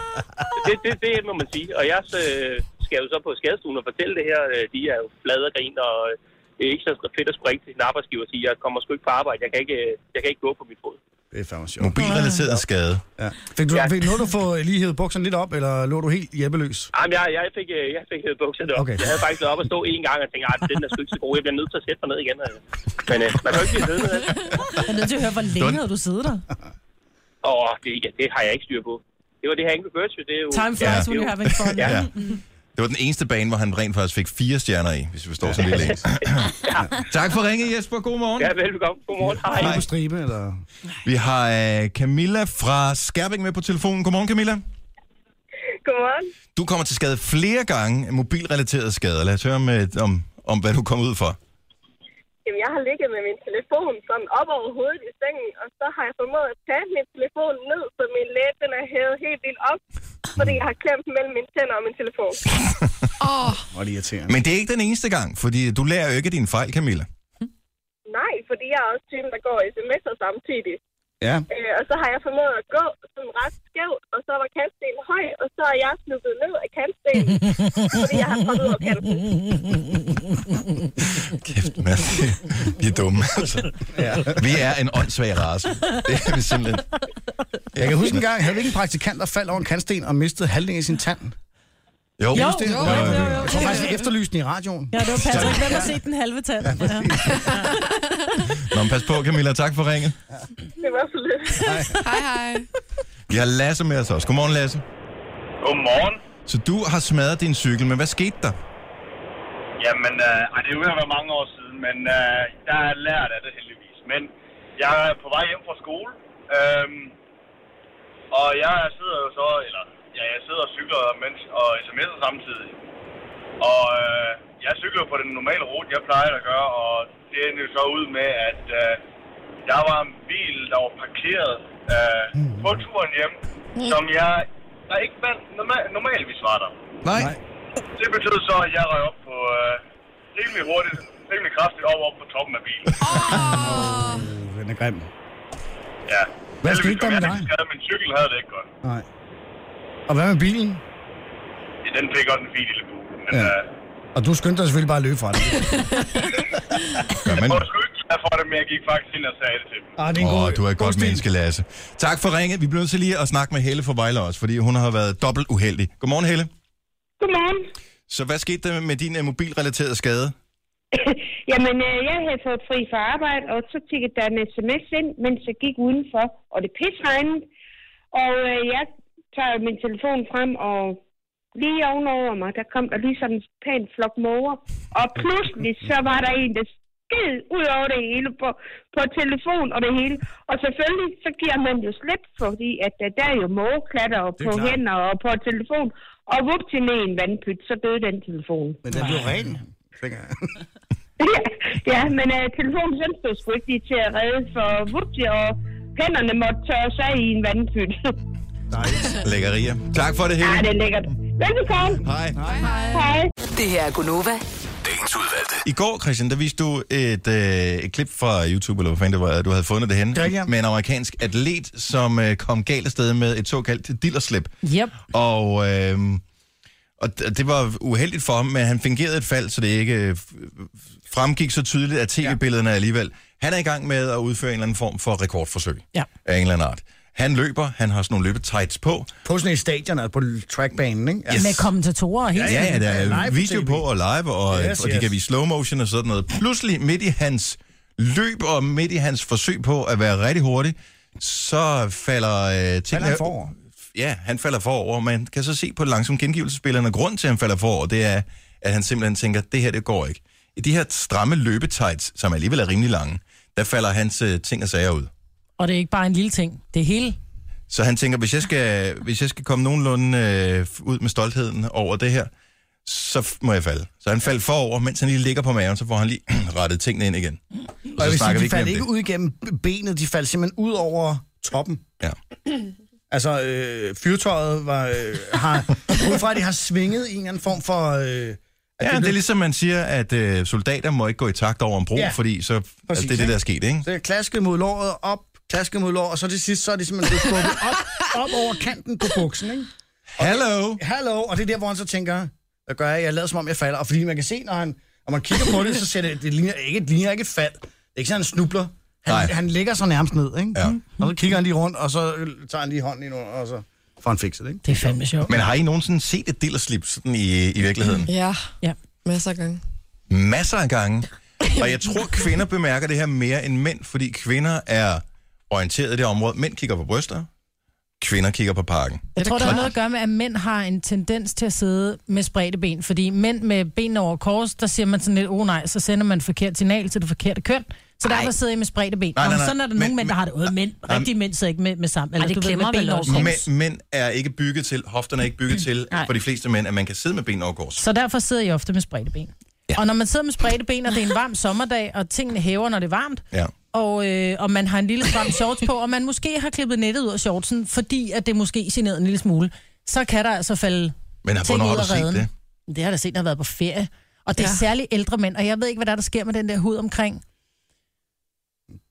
K: Det, det, det må man sige. Og jeg øh, skal jo så på skadestuen og fortælle det her. Øh, De er jo flade og grin, og øh, det er ikke så fedt at springe til sin arbejdsgiver og sige, jeg kommer sgu ikke på arbejde, jeg kan ikke, øh, jeg kan ikke gå på mit fod.
F: Det er fandme sjovt.
A: Mobilrelateret skade.
F: Ja. Fik du, fik, nåede du få lige hævet bukserne lidt op, eller lå du helt hjælpeløs?
K: Jamen, jeg, jeg fik, øh, jeg fik hævet bukserne op.
F: Okay.
K: Okay. Jeg havde faktisk været op og stå en gang og tænkte, at den er sgu ikke så god, jeg bliver nødt til at sætte mig ned igen. øh. Men øh, man kan jo ikke blive siddende. vel?
C: Jeg er nødt til at høre, hvor længe havde du siddet der?
K: Åh, det, ja, det har jeg ikke styr på. Det var det her Angry Birds, jo. det er jo...
C: Time flies when you're having fun.
K: Ja.
A: Ja. Det var den eneste bane, hvor han rent faktisk fik fire stjerner i, hvis vi forstår sådan lidt længe. Tak for ringet, Jesper. God morgen.
K: Ja, velbekomme. Godmorgen. Hej.
F: Hej. på stribe, eller?
A: Vi har øh, Camilla fra Skærbæk med på telefonen. Godmorgen, Camilla.
L: Godmorgen.
A: Du kommer til skade flere gange af mobilrelaterede skader. Lad os høre om, øh, om, om hvad du kom ud for.
L: Jamen, jeg har ligget med min telefon sådan op over hovedet i sengen, og så har jeg formået at tage min telefon ned, så min læge den er hævet helt vildt op, fordi jeg har klemt mellem mine tænder og min
E: [LAUGHS]
L: telefon. Åh. oh.
F: Hvor er det irriterende.
A: Men det er ikke den eneste gang, fordi du lærer jo ikke af din fejl, Camilla.
L: Nej, fordi jeg er også typen, der går sms'er samtidig.
A: Ja.
L: Øh, og så har jeg formået at gå sådan ret skævt, og så var kantstenen høj, og så er jeg sluppet ned af
E: [LAUGHS]
L: kantstenen, fordi jeg har kommet ud af kanten.
A: Kæft, mand. Vi er
F: [LAUGHS]
A: dumme, altså. Ja. Vi er en åndssvag race. Det er vi simpelthen.
F: Jeg kan huske en gang, havde vi ikke en praktikant, der faldt over en kantsten og mistede halvdelen af sin tand?
A: Jo.
F: Kan I
A: Jo,
F: huske det?
A: jo, jo, jo, jo.
F: Jeg tror faktisk, jeg efterlyste den i radioen.
C: Ja, det var Patrick. Hvem har set den halve tand? Ja.
A: Nå, men pas på, Camilla. Tak for ringet.
L: Det var for lidt. Hej, hej.
A: Vi har Lasse med os også. Godmorgen, Lasse.
K: Godmorgen.
A: Så du har smadret din cykel, men hvad skete der?
M: Jamen, øh, ej, det er jo ved at være mange år siden, men øh, jeg har lært af det heldigvis. Men jeg er på vej hjem fra skole, øh, og jeg sidder jo så, eller ja, jeg sidder og cykler mens, og sms'er samtidig. Og øh, jeg cykler på den normale rute, jeg plejer at gøre, og det ender jo så ud med, at øh, der var en bil, der var parkeret øh, på turen hjem, som jeg der ikke vandt normal, normalvis var der.
A: Nej.
M: Det betød så, at jeg røg op på øh, rimelig hurtigt, rimelig kraftigt op, op på toppen af bilen.
F: Den er grim.
M: Ja.
F: Hvad skete
M: Heldigvis kom
F: der med
M: jeg
F: dig?
M: ikke skadet, Min cykel havde det ikke godt.
F: Nej. Og hvad med bilen?
M: Ja, den fik godt en fin lille bue. Men
F: Ja.
M: ja. øh,
F: Og du skyndte dig selvfølgelig bare at løbe
A: [LAUGHS]
F: fra det.
M: jeg prøvede sgu ikke glad for det, men jeg gik faktisk ind og sagde det til dem.
F: Ah,
A: Åh, du er et godt menneske, Lasse. Tak for ringet. Vi bliver nødt til lige at snakke med Helle for Vejle også, fordi hun har været dobbelt uheldig. Godmorgen, Helle.
L: Godmorgen. [LAUGHS]
A: Så hvad skete der med din øh, mobilrelaterede skade?
L: Jamen, øh, jeg havde fået fri fra arbejde, og så tikkede der en sms ind, mens jeg gik udenfor, og det pisregnede. Og øh, jeg tager min telefon frem, og lige ovenover mig, der kom der lige sådan en pæn flok måger. Og pludselig, så var der en, der skid ud over det hele på, på telefon og det hele. Og selvfølgelig, så giver man jo slip, fordi at der, der er jo mågeklatter og på
F: klart.
L: hænder og på telefon. Og vup til med en vandpyt, så døde den telefon.
F: Men den blev ren, tænker jeg.
L: Ja, [LAUGHS] ja, men øh, telefonen den stod sgu ikke lige til at redde, for vupti, og hænderne måtte tørre sig i en vandpyt.
A: Lækkerier. Tak for det, Helle.
L: [LAUGHS] Ja, det er lækkert. Velbekomme.
A: Hej. Hej.
L: Hej.
H: Det her er Gunova.
A: Dagens udvalgte. I går, Christian, der viste du et, øh, et klip fra YouTube, eller hvor fanden det var, du havde fundet det henne,
F: Ja, ja.
A: med en amerikansk atlet, som øh, kom galt afsted med et såkaldt dillerslip.
C: Yep.
A: Og, øh, og d- det var uheldigt for ham, men han fingerede et fald, så det ikke øh, f- fremgik så tydeligt af tv-billederne alligevel. Han er i gang med at udføre en eller anden form for rekordforsøg
C: Ja.
A: af en eller anden art. Han løber, han har sådan nogle løbetights på.
F: På sådan et stadion, altså på trackbanen, ikke?
C: Med kommentatorer og
A: Ja,
C: helt
A: ja,
C: sådan.
A: der er
F: Live på
A: video
F: TV.
A: på og live, og, yes,
F: Yes,
A: og de
F: yes.
A: kan vise slow motion og sådan noget. Pludselig midt i hans løb og midt i hans forsøg på at være rigtig hurtig, så falder øh, tingene...
F: han forover?
A: Ja, han falder forover. Man kan så se på langsom gengivelsespillerne, grund til, at han falder forover, det er, at han simpelthen tænker, det her, det går ikke. I de her stramme løbetights, som alligevel er rimelig lange, der falder hans øh, ting og sager ud.
C: Og det er ikke bare en lille ting. Det er hele.
A: Så han tænker, hvis jeg skal, hvis jeg skal komme nogenlunde øh, ud med stoltheden over det her, så f- må jeg falde. Så han faldt forover, mens han lige ligger på maven, så får han lige [CLEARS THROAT] rettet tingene ind igen.
F: Mm. Og jeg vil sige,
A: snakker vi
F: de
A: ikke
F: faldt
A: mere om
F: ikke
A: det.
F: ud igennem benet, de faldt simpelthen ud over toppen.
A: Ja.
F: [CLEARS THROAT] Altså, øh, fyrtøjet var, øh, har, [LAUGHS] ud fra, at det har svinget i en eller anden form for... Øh, at
A: Ja,
F: blev-
A: det er ligesom, man siger, at øh, soldater må ikke gå i takt over en bro,
F: Ja.
A: ja. fordi så, altså, det er det, der er sket, ikke?
F: Så jeg klaskede mod låret, op, klaskede mod låret, og så til sidst, så er det simpelthen blevet skubbet op, op over kanten på buksen, ikke?
A: Hello!
F: Hello, og det er der, hvor han så tænker, hvad gør jeg? Jeg lader som om, jeg falder. Og fordi man kan se, når han, når man kigger på det, så ser det, det ligner ikke, det ligner ikke et fald. Det er ikke sådan, han snubler. Han, han ligger sig nærmest ned, ikke? Ja. Og så kigger han lige rundt, og så øh, tager han lige hånden ind under, og så får han fikset det, ikke?
C: Det er fandme sjovt.
A: Men har I nogensinde set et dillerslip sådan i, i virkeligheden?
D: Ja,
C: ja.
D: masser af gange.
A: Masser af gange. Og jeg tror, kvinder bemærker det her mere end mænd, fordi kvinder er orienteret i det område. Mænd kigger på bryster, kvinder kigger på parken.
C: Jeg tror, der har noget at gøre med, at mænd har en tendens til at sidde med spredte ben. Fordi mænd med ben over kors, der siger man sådan lidt, oh nej, så sender man et forkert signal til det forkerte køn. Så derfor sidder I med spredte ben.
A: Nej,
C: Nej,
A: nej,
C: nej,
A: nej.
C: Sådan er der
A: Men-
C: nogle mænd, der har det. Øh, mænd,
A: Nej,
C: rigtige mænd sidder ikke med, med sammen. Eller,
E: det
C: du ved, med
E: klemmer vel
C: ben over
E: også.
C: kors.
A: Mænd, mænd er ikke bygget til, hofterne er ikke bygget til,
C: Mm. Nej.
A: for de fleste mænd, at man kan sidde med ben over kors.
C: Så derfor sidder I ofte med spredte ben. Ja. Og når man sidder med spredte ben, og det er en varm sommerdag, og tingene hæver, når det er varmt,
A: Ja.
C: og, øh, og man har en lille stram shorts på, og man måske har klippet nettet ud af shortsen, fordi at det måske generer en lille smule, så kan der altså falde
A: Men har-
C: ting
A: hvornår
C: ud
A: har
C: af
A: du set
C: reden.
A: det?
C: Det har jeg da set, når jeg har været på ferie. Og det er ja.
E: Ja.
C: særligt ældre mænd, og jeg ved ikke, hvad der, er, der sker med den der hud omkring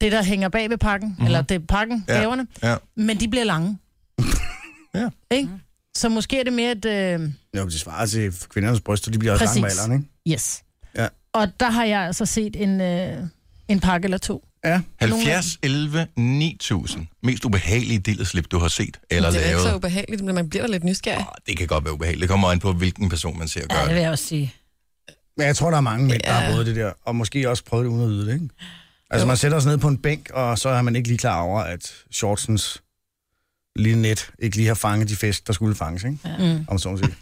C: det, der hænger bag ved pakken, mm-hmm. eller det er pakken, ja. hæverne,
A: ja.
C: men de bliver [LAUGHS] lange.
A: ja.
C: Ikke? Så måske er det mere et... Øh,
F: Jo, det svarer til kvindernes bryster, de bliver også lange med
C: Præcis.
F: alderen, ikke?
C: Yes.
F: Ja.
C: Og der har jeg altså set en, øh, en pakke eller to.
F: Ja.
C: Nogle af
A: 70, 11, 9000. Mest ubehagelige dillerslip, du har set eller
D: det er ikke
A: lavet.
C: altså-
D: så ubehageligt, men man bliver da lidt nysgerrig.
A: Det kan godt være ubehageligt. Det kommer an på, hvilken person man ser gøre det.
E: vil jeg også sige.
F: Men jeg tror, der er mange mænd, der har prøvet det der, og måske også prøvet det uden at vide det, ikke? Altså, man sætter sig ned på en bænk, og så er man ikke lige klar over, at shortsens lille net ikke lige har fanget de fisk, der skulle fanges, ikke?
E: Ja. Mm.
F: Om så må sige.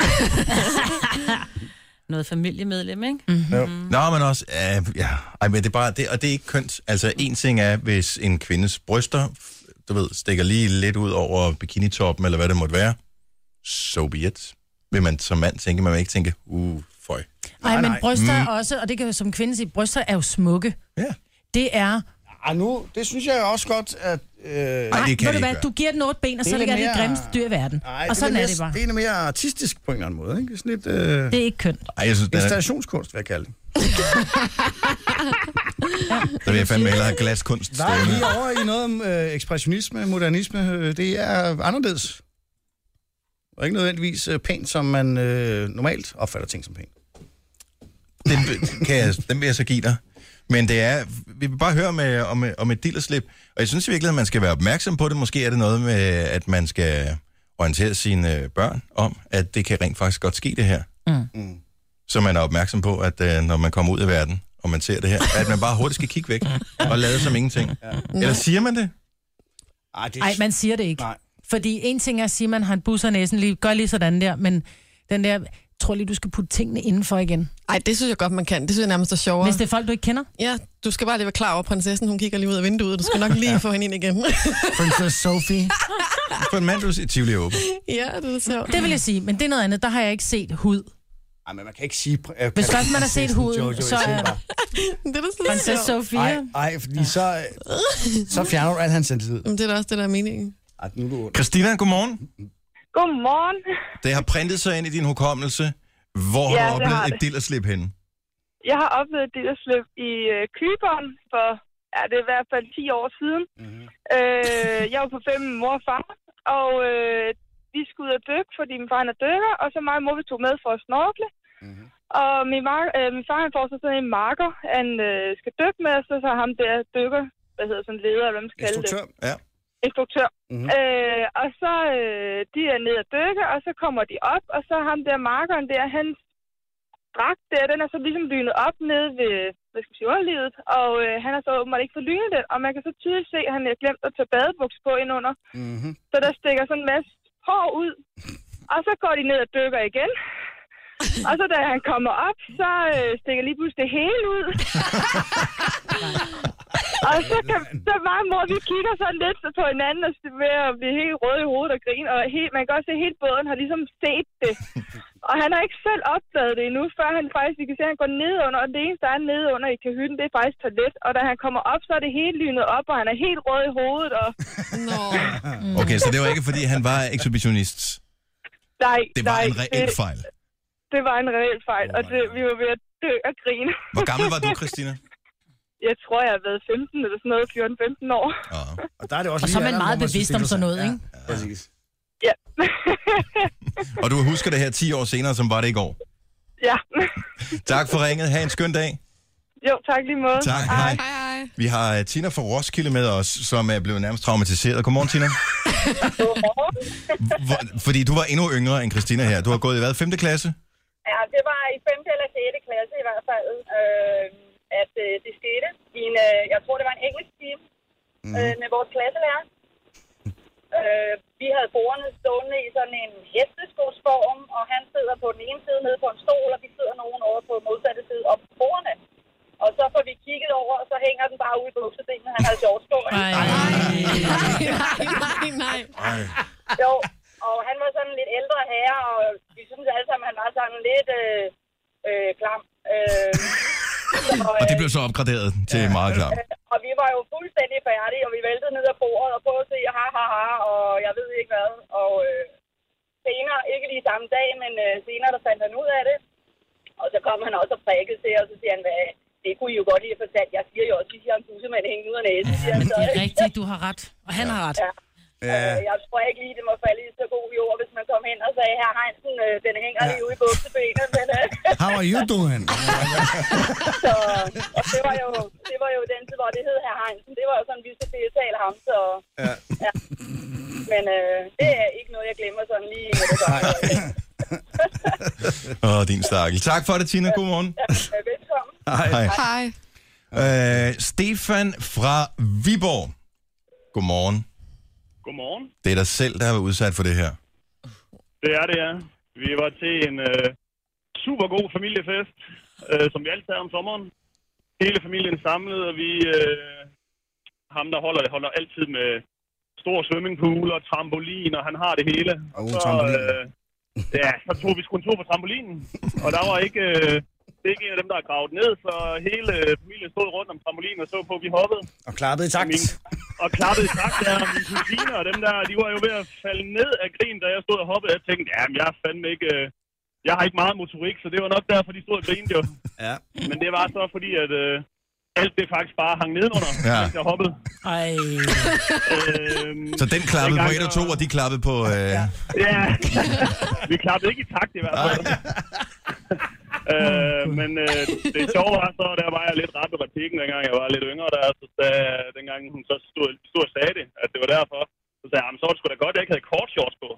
E: Noget familiemedlem, ikke?
C: Mm.
F: Jo.
C: Mm-hmm.
A: Nå, men også, øh, ja, ej, men det er bare, det, og det er ikke kønt. Altså, en ting er, hvis en kvindes bryster, f- du ved, stikker lige lidt ud over bikinitoppen, eller hvad det måtte være, so be it. Vil man som mand tænke, man vil ikke tænke, uh, føj.
C: Nej, men bryster er
A: Mm.
C: også, og det kan jeg som kvinde sige, bryster er jo smukke.
A: Ja.
C: Det er...
F: Ej, nu, det synes jeg også godt, at... Øh... Ej,
C: Nej, ved du hvad, du giver den otte ben, og så ligger det det grimmeste dyr i verden.
F: Ej,
C: og sådan
F: det
C: er
F: mere-
C: det bare.
F: Det er noget mere artistisk på en eller anden måde, ikke? Sådan lidt... Øh...
C: Det er ikke kønt.
A: Ej, jeg synes, det er,
F: Installationskunst, vil jeg kalde det.
A: der vil jeg fandme hellere have glaskunst
F: Nej, vi
A: stående.
F: er over i noget om øh, ekspressionisme, modernisme. Øh, det er anderledes. Og ikke nødvendigvis øh, pænt, som man øh, normalt opfatter ting som pænt.
A: Den, vil- kan jeg, den vil jeg så give dig. Men det er, vi vil bare høre med, om, om et dillerslip, og jeg synes i virkeligheden, man skal være opmærksom på det. Måske er det noget med, at man skal orientere sine øh, børn om, at det kan rent faktisk godt ske det her.
F: Mm.
A: så man er opmærksom på, at øh, når man kommer ud af verden, og man ser det her, at man bare hurtigt skal kigge væk og lade som ingenting. Eller siger man det?
F: Ej, det...
C: Nej, man siger det ikke.
F: Nej.
C: Fordi en ting er at sige, at man har en bus og næsen lige, gør lige sådan der, men den der, jeg tror lige, du skal putte tingene indenfor igen.
D: Ej, det synes jeg godt, man kan. Det synes jeg nærmest er sjovere.
C: Hvis det er folk, du ikke kender?
D: Ja, du skal bare lige være klar over, at prinsessen hun kigger lige ud af vinduet. Du skal nok lige få hende ind igen.
F: Princess Sophie.
A: For en mand, du siger, Tivoli er åben.
D: [LAUGHS] ja, det er sjovt.
C: Det vil jeg sige, men det er noget andet. Der har jeg ikke set hud.
F: Ej, men man kan ikke sige... Pr- øh,
C: Hvis først man har set
F: prinsessen
C: huden,
F: Jojo i
C: så er-
F: Silver.
D: det er da sådan
C: Prinsesse
D: sjovt.
C: Sofia.
F: Ej, ej, fordi så, øh, så fjerner du al hans sensitid.
D: Jamen, det er da også det, der er meningen.
F: Ej, nu er du...
A: Christina, godmorgen.
N: Godmorgen.
A: Det har printet sig ind i din hukommelse. Hvor har
N: Ja,
A: du
N: det har
A: oplevet
N: det.
A: et dillerslip henne?
N: Jeg har oplevet det at slippe i øh, Kyberen for, ja, det er i hvert fald 10 år siden.
A: Mhm.
N: Mm-hmm. Øh, jeg var på fem med mor og far, og øh, vi skulle ud og dykke, fordi min far han er dykker, og så mig og mor vi tog med for at snorkle.
A: Mhm.
N: Mm-hmm. Og min, mar- øh, min far han får så sådan en marker, han øh, skal dykke med, og så har ham der dykker, hvad hedder sådan leder, eller hvad man skal kalde det.
A: Ja.
N: instruktør.
A: Mhm.
N: Mm-hmm. Øh, og så øh, de er nede at dykke, og så kommer de op, og så ham der markeren der, hans dragt der, den er så ligesom lynet op nede ved, hvad skal man sige, underlivet, og øh, han har så åbenbart ikke fået lynet den, og man kan så tydeligt se, at han har glemt at tage badebuks på indunder,
F: Mm-hmm.
N: så der stikker sådan en masse hår ud, og så går de ned og dykker igen. Og så da han kommer op, så øh, stikker lige pludselig det hele
A: [LAUGHS]
N: ud. og så kan så mig og mor, vi kigger sådan lidt på hinanden og ved at blive helt røde i hovedet og grine. Og helt, man kan også se, at hele båden har ligesom set det. Og han har ikke selv opdaget det endnu, før han faktisk, vi kan se, at han går ned under, og det eneste, der er nede under i kahytten, det er faktisk toilet. Og da han kommer op, så er det hele lynet op, og han er helt rød i hovedet, og... Nå.
A: Okay, så det var ikke, fordi han var ekshibitionist.
N: Nej,
A: Det var
N: nej,
A: en reel
N: det,
A: fejl.
N: Det var en reel fejl, oh og det, vi var ved at dø og grine.
A: Hvor gammel var du, Christina?
N: [LAUGHS] Jeg tror, jeg har været 15 eller sådan noget, 14-15 år.
F: Og, der er det også
C: Og så er
F: lige
C: man
F: alderen,
C: meget
F: hvor synes,
C: bevidst
F: det er
C: om sådan noget,
F: interessant.
C: ikke?
F: Ja, præcis.
A: Og du husker det her 10 år senere, som var det i går.
N: Ja.
A: Tak for ringet. Ha' en skøn dag.
N: jo, tak lige måde.
A: Tak. Hej. Vi har øh, Tina fra Roskilde med os, som er blevet nærmest traumatiseret. Godmorgen, Tina. Hvor, fordi du var endnu yngre end Christina her. Du har gået i hvad? 5. klasse?
O: Ja, det var i 5. eller 6. klasse i hvert fald, øh, at øh, det skete. I en, øh, jeg tror, det var en engelsk time
A: Mhm.
O: øh, med vores klasselærer. Øh, vi havde bordene stående i sådan en hesteskosform, og han sidder på den ene side nede på en stol, og vi sidder nogen over på modsatte side op på bordene. Og så får vi kigget over, og så hænger den bare ude i buksedelen, han har shorts på. Nej, nej, nej, nej. Jo, og han var sådan en lidt ældre herre, og vi synes alle sammen, han var sådan lidt øh, øh, klam. Øh, så,
A: Og det blev så opgraderet til meget klart.
O: øh, og vi var jo fuldstændig færdige, og vi væltede ned af bordet og prøvede at se, ha, ha, ha, og jeg ved ikke hvad. Og øh, senere, ikke lige samme dag, men øh, senere, der fandt han ud af det. Og så kom han også og prikkede til, og så siger han, hvad, det kunne I jo godt lige have fortalt. Jeg siger jo også, at de siger en bussemand hængende ud af næsen. siger han så,
C: Det er
O: ikke?
C: rigtigt, du har ret. Og han har ret.
O: Ja. Øh, jeg tror ikke lige, det må falde i så god jord, hvis man kom hen og sagde, her Heinsen, øh, den hænger lige ude i buksebenet. Men, øh,
F: How are you doing?
O: så, og det var, jo, det var jo den tid, hvor det hed her Heinsen. Det var jo sådan, vi skulle tiltale ham, så...
F: Ja.
O: ja. Men øh, det er ikke noget, jeg glemmer sådan lige. Med det samme.
A: [LAUGHS] Åh, din stakkel. Tak for det, Tina. Godmorgen.
O: Øh, Velkommen.
A: Hej.
O: Hej.
A: Øh, Stefan fra Viborg. Godmorgen.
P: Godmorgen.
A: Det er dig selv, der har været udsat for det her.
P: Det er det, ja. Vi var til en øh, super god familiefest, øh, som vi altid har om sommeren. Hele familien samlet, og vi... Øh, ham, der holder det, holder altid med stor swimmingpool og trampolin, og han har det hele. Og så, øh, ja, så tog vi sgu en tur på trampolinen, og der var ikke... Øh, det er ikke en af dem, der er gravet ned, så hele øh, familien stod rundt om trampolinen og så på, at vi hoppede.
F: Og klappede i takt.
P: og klappede i takt der, og mine kusiner og dem der, de var jo ved at falde ned af grin, da jeg stod og hoppede. Jeg tænkte, jamen jeg er fandme ikke, øh, jeg har ikke meget motorik, så det var nok derfor, de stod og grinede jo.
F: Ja.
P: Men det var så fordi, at øh, alt det faktisk bare hang nedenunder,
A: Ja.
P: ja. mens jeg hoppede.
C: Ej.
P: øhm,
A: Så den klappede på
P: dengang,
A: 1 og 2, og de klappede på... Øh...
P: Ja, vi klappede ikke i takt i hvert fald. [LAUGHS] øh, men øh, det sjove var så, der var jeg lidt ret på replikken, dengang jeg var lidt yngre. Der, så da, dengang hun så stod, stod og sagde det, at det var derfor. Så sagde jeg, "Jamen, så var det sgu da godt, at jeg ikke havde kort shorts på.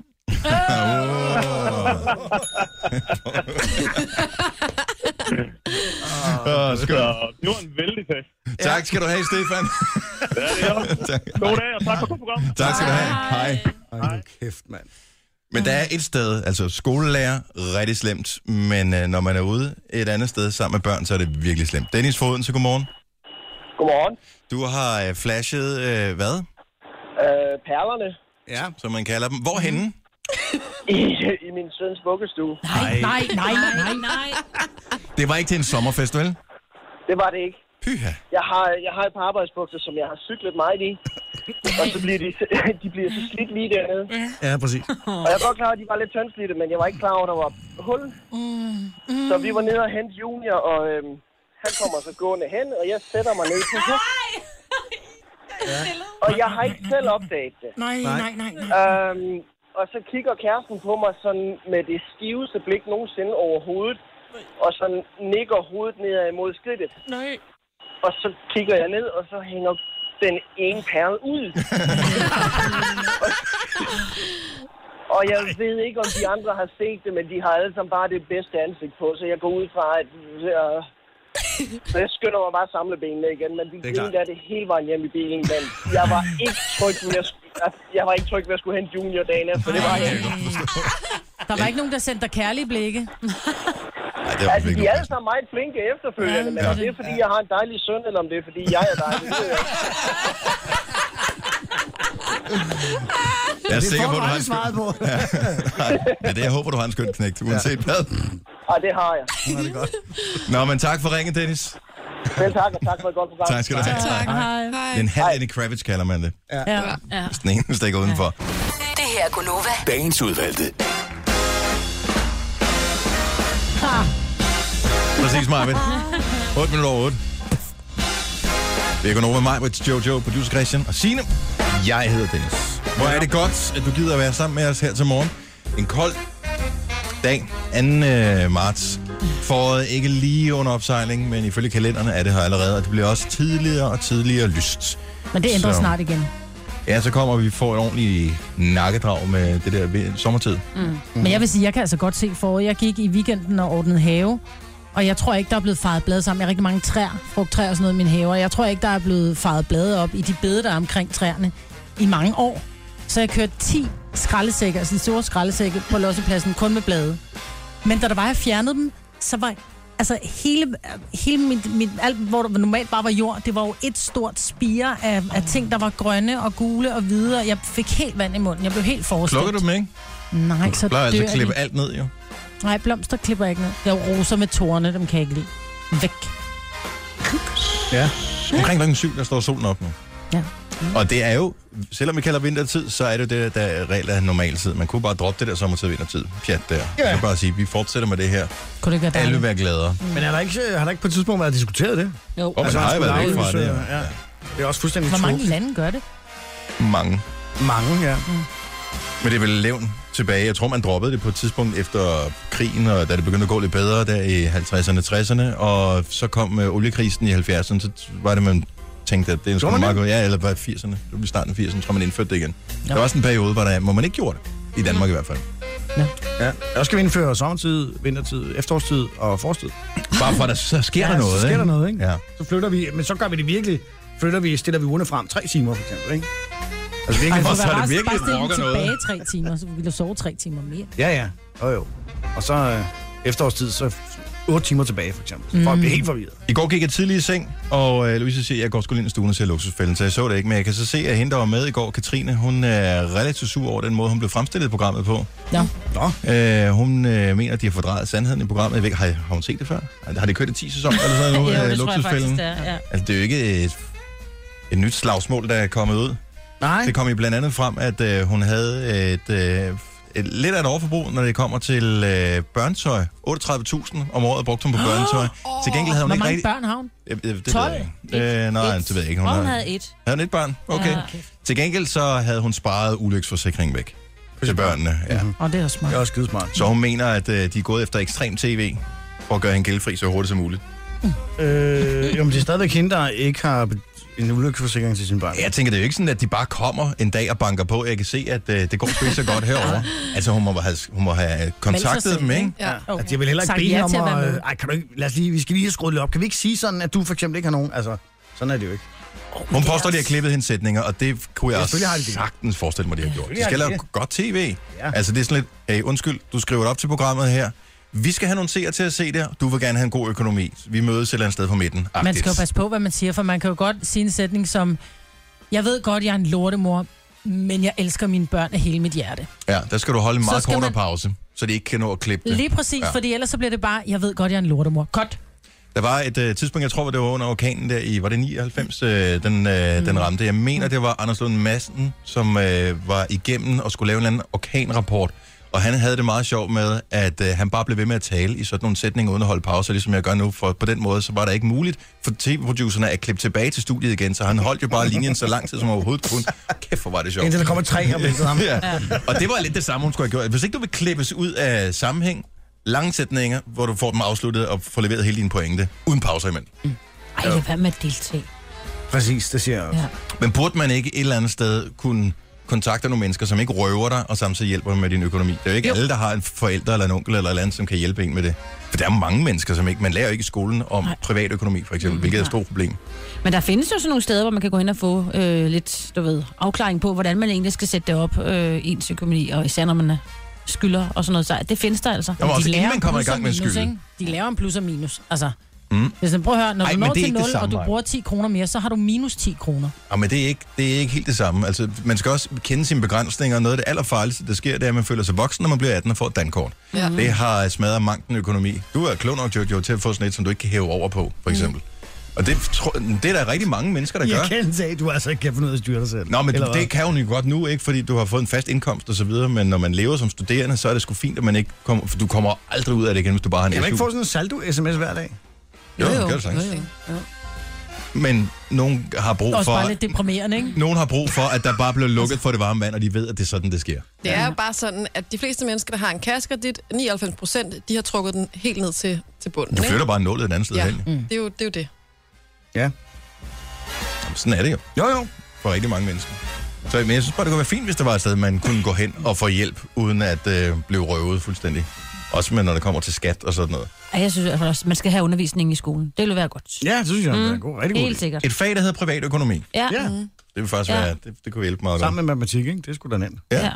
P: [LAUGHS]
A: Åh,
P: Så
A: skønt.
P: det var en vældig fest.
A: Tak skal du have, Stefan.
P: Ja, det er det.
A: [LAUGHS] tak.
P: God dag, og tak for godt program.
A: tak skal du have. Hej.
F: Ej, nu kæft, mand.
A: Men der er et sted, altså skolelærer, rigtig slemt. Men øh, når man er ude et andet sted sammen med børn, så er det virkelig slemt. Dennis Foden, så godmorgen.
G: Godmorgen.
A: Du har øh, flashet, øh, hvad?
G: Øh, perlerne
A: Ja. Mm-hmm. Som man kalder dem. Hvorhenne?
G: i, i min søns vuggestue.
A: Nej,
C: Nej, nej, nej, nej.
A: Det var ikke til en sommerfest, [LAUGHS] vel?
G: Det var det ikke.
A: Pyha.
G: Jeg har, jeg har et par arbejdsbukser, som jeg har cyklet meget i. og så bliver de, [LAUGHS] de bliver så slidt lige dernede.
F: Ja, præcis.
G: Og jeg er godt klar over, at de var lidt tyndslidte, men jeg var ikke klar over, at der var hul.
C: Mm.
G: Så vi var nede og hente Junior, og øhm, han kommer så gående hen, og jeg sætter mig ned på huk. [LAUGHS] Ja. Og jeg har ikke selv opdaget det.
C: Nej, nej, nej, nej.
G: Øhm, og så kigger kæresten på mig sådan med det stiveste blik nogensinde overhovedet, og så nikker hovedet nedad imod skridtet.
C: Nej.
G: Og så kigger jeg ned, og så hænger den ene perle ud. Og jeg ved ikke, om de andre har set det, men de har alle sammen bare det bedste ansigt på, så jeg går ud fra, at... Øh,
A: [LAUGHS]
G: så jeg skynder mig bare at samle benene igen, men de
F: Det er
G: grinede
F: klart.
G: af det hele vejen hjem i bilen, men jeg var ikke tryg ved, at jeg, skulle- at- jeg var ikke tryg ved at skulle hente junior dagen efter. Det var jeg ikke.
C: Der var ikke nogen, der sendte dig kærlige
D: [LAUGHS]
C: blikke.
A: Ej, det
G: Altså, de er alle sammen meget flinke efterfølgende, men om det er, fordi jeg har en dejlig søn, eller om det er, fordi jeg er dejlig, det ved jeg ikke.
A: Jeg er
B: Det
A: sikker
B: får
A: på,
B: du
A: du har en
B: aldrig svaret på.
A: Ja. [LAUGHS] ja, det, jeg håber, du har en skøn knægt, uanset hvad.
G: Ej, det har jeg.
B: Ja, det er godt.
A: Nå, men tak for ringen, Dennis.
G: Selv tak, og tak for et godt program.
A: Tak skal du have. Tak.
H: Hej.
A: En halv Annie Kravitz kalder man det.
H: Ja. ja.
A: Den ene stikker udenfor.
H: Det her er Gunova.
A: Dagens udvalgte. Præcis,
C: [LAUGHS]
A: Marvind. 8 minutter over 8. Det er kun over med mig, med Jojo, producer Christian og Signe. Jeg hedder Dennis. Hvor er det godt, at du gider at være sammen med os her til morgen. En kold dag, 2. marts. Foråret ikke lige under opsejling, men ifølge kalenderne er det her allerede, og det bliver også tidligere og tidligere lyst.
C: Men det ændrer
A: Så-
C: snart igen.
A: Ja, så kommer vi får et ordentligt nakkedrag med det der ved- sommertid.
C: Mm. Men jeg vil sige, jeg kan altså godt se foråret. Jeg gik i weekenden og ordnede have, og jeg tror ikke, der er blevet faret blade sammen. Jeg har rigtig mange træer, frugttræer og sådan noget i min have, og jeg tror ikke, der er blevet faret blade op i de bede, der er omkring træerne i mange år. Så jeg kørte 10 skraldesække, altså de store skraldesække på lossepladsen, kun med blade. Men da der var, jeg fjernede dem, så var altså hele, hele mit, mit, alt, hvor der normalt bare var jord, det var jo et stort spire af, af ting, der var grønne og gule og hvide, og jeg fik helt vand i munden. Jeg blev helt forstemt.
A: Slukker du dem, ikke?
C: Nej, så
A: Du plejer altså
C: dør
A: at klippe
C: de.
A: alt ned, jo.
C: Nej, blomster klipper jeg ikke ned. Jeg roser med tårne, dem kan jeg ikke lide. Væk.
A: Ja. Omkring klokken syv, der står solen op nu.
C: Ja.
A: Og det er jo, selvom vi kalder vintertid, så er det jo det, der regel er normaltid. Man kunne bare droppe det der sommertid vintertid. Pjat der. Ja. Man kan bare sige, vi fortsætter med det her.
C: Kunne det ikke være
A: Alle
C: dejligt?
A: vil være gladere.
F: Men er der ikke, øh, har der ikke på et tidspunkt været diskuteret det? Altså,
C: Jo.
A: Åh, man har jo været væk fra det,
F: Ja. øh, ja. Det er også fuldstændig
C: Hvor mange
F: tåbeligt.
C: lande gør det?
A: Mange.
F: Mange, ja.
A: Men det er vel levn tilbage. Jeg tror, man droppede det på et tidspunkt efter krigen, og da det begyndte at gå lidt bedre der i 50'erne og 60'erne, og så kom øh, oliekrisen i 70'erne, så var det, man tænkte, at det er
F: Gjorde man
A: en meget
F: det?
A: godt. Ja, eller var det 80'erne. Det blev starten af 80'erne, tror man indførte det igen. Ja. Der var sådan en periode, hvor, der, hvor man ikke gjorde det. I
C: Mm.
A: Danmark i hvert fald.
F: Ja. Og skal vi indføre sommertid, vintertid, efterårstid og forårstid.
A: Bare for, at der så sker
F: ja,
A: der noget,
F: så sker
A: ikke?
F: der noget, ikke?
A: Ja.
F: Så flytter vi, men så gør vi det virkelig, flytter vi, stiller vi urene frem tre timer, for eksempel, ikke? Altså virkelig,
C: Ej, hvor bare- bare stille dem tilbage tre timer, så ville du sove tre timer mere.
F: Ja, ja. Jo, jo. Og så øh, efterårstid, så f- otte timer tilbage, for eksempel. Så folk
A: Mm.
F: bliver helt forvirret.
A: I går gik jeg tidlig i seng, og øh, Louise siger, at jeg går sgu lige ind i stuen og ser luksusfælden, så jeg så det ikke. Men jeg kan så se, at hende, der var med i går, Katrine, hun er relativt sur over den måde, hun blev fremstillet i programmet på.
C: Ja.
A: Nå. Øh, hun øh, mener, at de har fordrejet sandheden i programmet. Jeg ved ikke, Har, har hun set det før? Har det kørt i 10 sæsoner eller sådan noget?
E: Jo,
A: øh,
E: det tror jeg
A: Luksusfælden?
E: faktisk, det er, ja.
A: Altså, det er jo ikke et, et nyt slagsmål, der er kommet ud.
F: Nej.
A: Det kom i blandt andet frem, at øh, hun havde et, øh, et, lidt af et overforbrug, når det kommer til øh, børnetøj. 38.000 om året brugte hun på børnetøj. Til gengæld havde hun
C: Hvor
A: ikke
C: mange
A: rigtig...
C: børn har hun?
A: Jeg, jeg, det
C: 12?
A: Ved jeg ikke. Øh, nej, det ved jeg ikke.
C: Åh, hun
A: har-
C: havde et.
A: Havde hun et barn? Okay.
C: Ja.
A: Til gengæld så havde hun sparet ulykkesforsikringen væk til børnene. Ja.
C: Og Mhm. det er også smart.
F: Det er også skidesmart.
A: Så hun mener, at øh, de er gået efter ekstrem tv for at gøre hende gældfri så hurtigt som muligt.
F: Øh, jo, men det er stadigvæk hende, der ikke har en ulykkesforsikring til sin børn.
A: Jeg tænker, det er jo ikke sådan, at de bare kommer en dag og banker på. Jeg kan se, at øh, det går sgu ikke så godt
F: [LAUGHS]
A: herover. Altså, hun må have, hun må have kontaktet dem, ikke?
F: Ja. Altså, jeg vil heller ikke bede hende om at... øh, Ej, kan du ikke... Lad os lige... Vi skal lige have skruet lidt op. Kan vi ikke sige sådan, at du for eksempel ikke har nogen... Altså, sådan er det jo ikke.
A: Hun påstår, at de har klippet hendes sætninger, og det kunne jeg
F: Ja,
A: også
F: selvfølgelig har de det.
A: sagtens forestille mig, de har gjort. De
F: selvfølgelig
A: skal
F: har de
A: lave
F: det.
A: godt tv.
F: Ja.
A: Altså, det er sådan lidt, hey, undskyld, du skriver det op til programmet her. Vi skal have nogle seere til at se det. her. Du vil gerne have en god økonomi. Vi mødes et eller andet sted på midten.
C: Man skal jo passe på, hvad man siger, for man kan jo godt sige en sætning som, jeg ved godt, jeg er en lortemor, men jeg elsker mine børn af hele mit hjerte.
A: Ja, der skal du holde en
C: Så
A: meget
C: skal
A: kortere
C: man-
A: pause, så de ikke kan nå at klippe det.
C: Lige præcis, ja. fordi ellers så bliver det bare, jeg ved godt, jeg er en lortemor. Godt.
A: Der var et øh, tidspunkt, jeg tror, det var under orkanen der i, var det 99, øh, den, øh, mm. den ramte. Jeg mener, det var Anders Lund Madsen, som øh, var igennem og skulle lave en eller anden orkanrapport. Og han havde det meget sjovt med, at øh, han bare blev ved med at tale i sådan nogle sætninger uden at holde pauser, ligesom jeg gør nu. For på den måde, så var det ikke muligt for tv-producerne at klippe tilbage til studiet igen. Så han holdt jo bare linjen så lang tid som overhovedet kunne. Kæft, hvor var det sjovt.
F: Indtil der kommer
A: [LAUGHS]
F: tre og vælter ham.
A: ja.
F: Ja.
A: Og det var lidt det samme, hun skulle have gjort. Hvis ikke du vil klippes ud af sammenhæng, lange sætninger, hvor du får dem afsluttet og får leveret hele dine pointe, uden pauser imellem.
E: Ej, lad være med at deltage.
F: Præcis, det siger jeg også.
E: Ja.
A: Men burde man ikke et eller andet sted kunne kontakte nogle mennesker, som ikke røver dig, og samtidig hjælper dem med din økonomi? Det er jo ikke jo. alle, der har en forælder eller en onkel eller et eller andet, som kan hjælpe en med det. For der er mange mennesker, som ikke... Man lærer jo ikke i skolen om privatøkonomi, for eksempel, hvilket er et stort problem.
E: Men der findes jo sådan nogle steder, hvor man kan gå hen og få øh, lidt, du ved, afklaring på, hvordan man egentlig skal sætte det op, øh, ens økonomi, og især når man er skylder og sådan noget. Så det findes der altså.
C: Men
E: Men
C: de
E: de
C: lærer
E: lærer
C: om
E: om
C: plus
E: plus
C: og
E: og
C: minus, ikke? De laver en plus og minus. Altså,
A: Mm.
C: Hvis man prøver at høre, når
A: Ej,
C: Ej, du
A: men
C: når
A: det er
C: til
A: ikke det
C: 0,
A: samme,
C: og du
A: Maja.
C: bruger 10 kroner mere, så har du minus 10 kroner.
A: Og Ah, men det er, ikke, det er ikke helt det samme. Altså, man skal også kende sine begrænsninger, og noget af det allerfarligste, der sker, det er, at man føler sig voksen, når man bliver 18 og får et dankort.
Q: Ja.
A: Ja. Det har smadret manken økonomi. Du er klog nok, Jojo, til at få sådan et, som du ikke kan hæve over på, for eksempel. Mm. Og det, tror, det er der rigtig mange mennesker, der gør.
F: Jeg kan sige, at du altså ikke kan finde ud af at styre dig selv.
A: Nå, men
F: Eller
A: det,
F: hvad?
A: det kan hun jo godt nu, ikke? Fordi du har fået en fast indkomst og så videre, men når man lever som studerende, så er det sgu fint, at man ikke kommer... For du kommer aldrig ud af det igen, hvis du bare har en
F: Kan man
A: SU.
F: ikke få sådan en saldo-sms hver dag?
A: Jo, jo, det kan du sagtens. Men nogen har brug
C: Også
A: for...
C: bare lidt deprimerende, ikke?
A: Nogen har brug for, at der bare bliver lukket for det varme vand, og de ved, at det er sådan, det sker.
D: Det er jo bare sådan, at de fleste mennesker, der har en kassekredit, 99 procent, de har trukket den helt ned til, til bunden.
A: Du
D: ikke?
A: flytter bare nålet et andet sted
D: ja.
A: hen.
D: Mm. Det, er jo, det er jo det.
A: Jamen, Sådan er det jo. Jo, jo. For rigtig mange mennesker. Så men jeg synes bare, det kunne være fint, hvis der var et sted, man kunne gå hen og få hjælp, uden at øh, blive røvet fuldstændig. Også med, når det kommer til skat og sådan noget.
E: Ej, jeg synes altså også, man skal have undervisning i skolen. Det ville være godt.
A: Ja, det synes
E: jeg, det er en Mm. god- rigtig god Helt idé. sikkert.
A: Et fag, der hedder privatøkonomi.
E: Ja.
A: ja.
E: Mm.
A: Det vil faktisk
E: Ja.
A: ja. være, det, det kunne hjælpe meget
F: Sammen med matematik, ikke? Det er sgu da nemt.
A: Ja.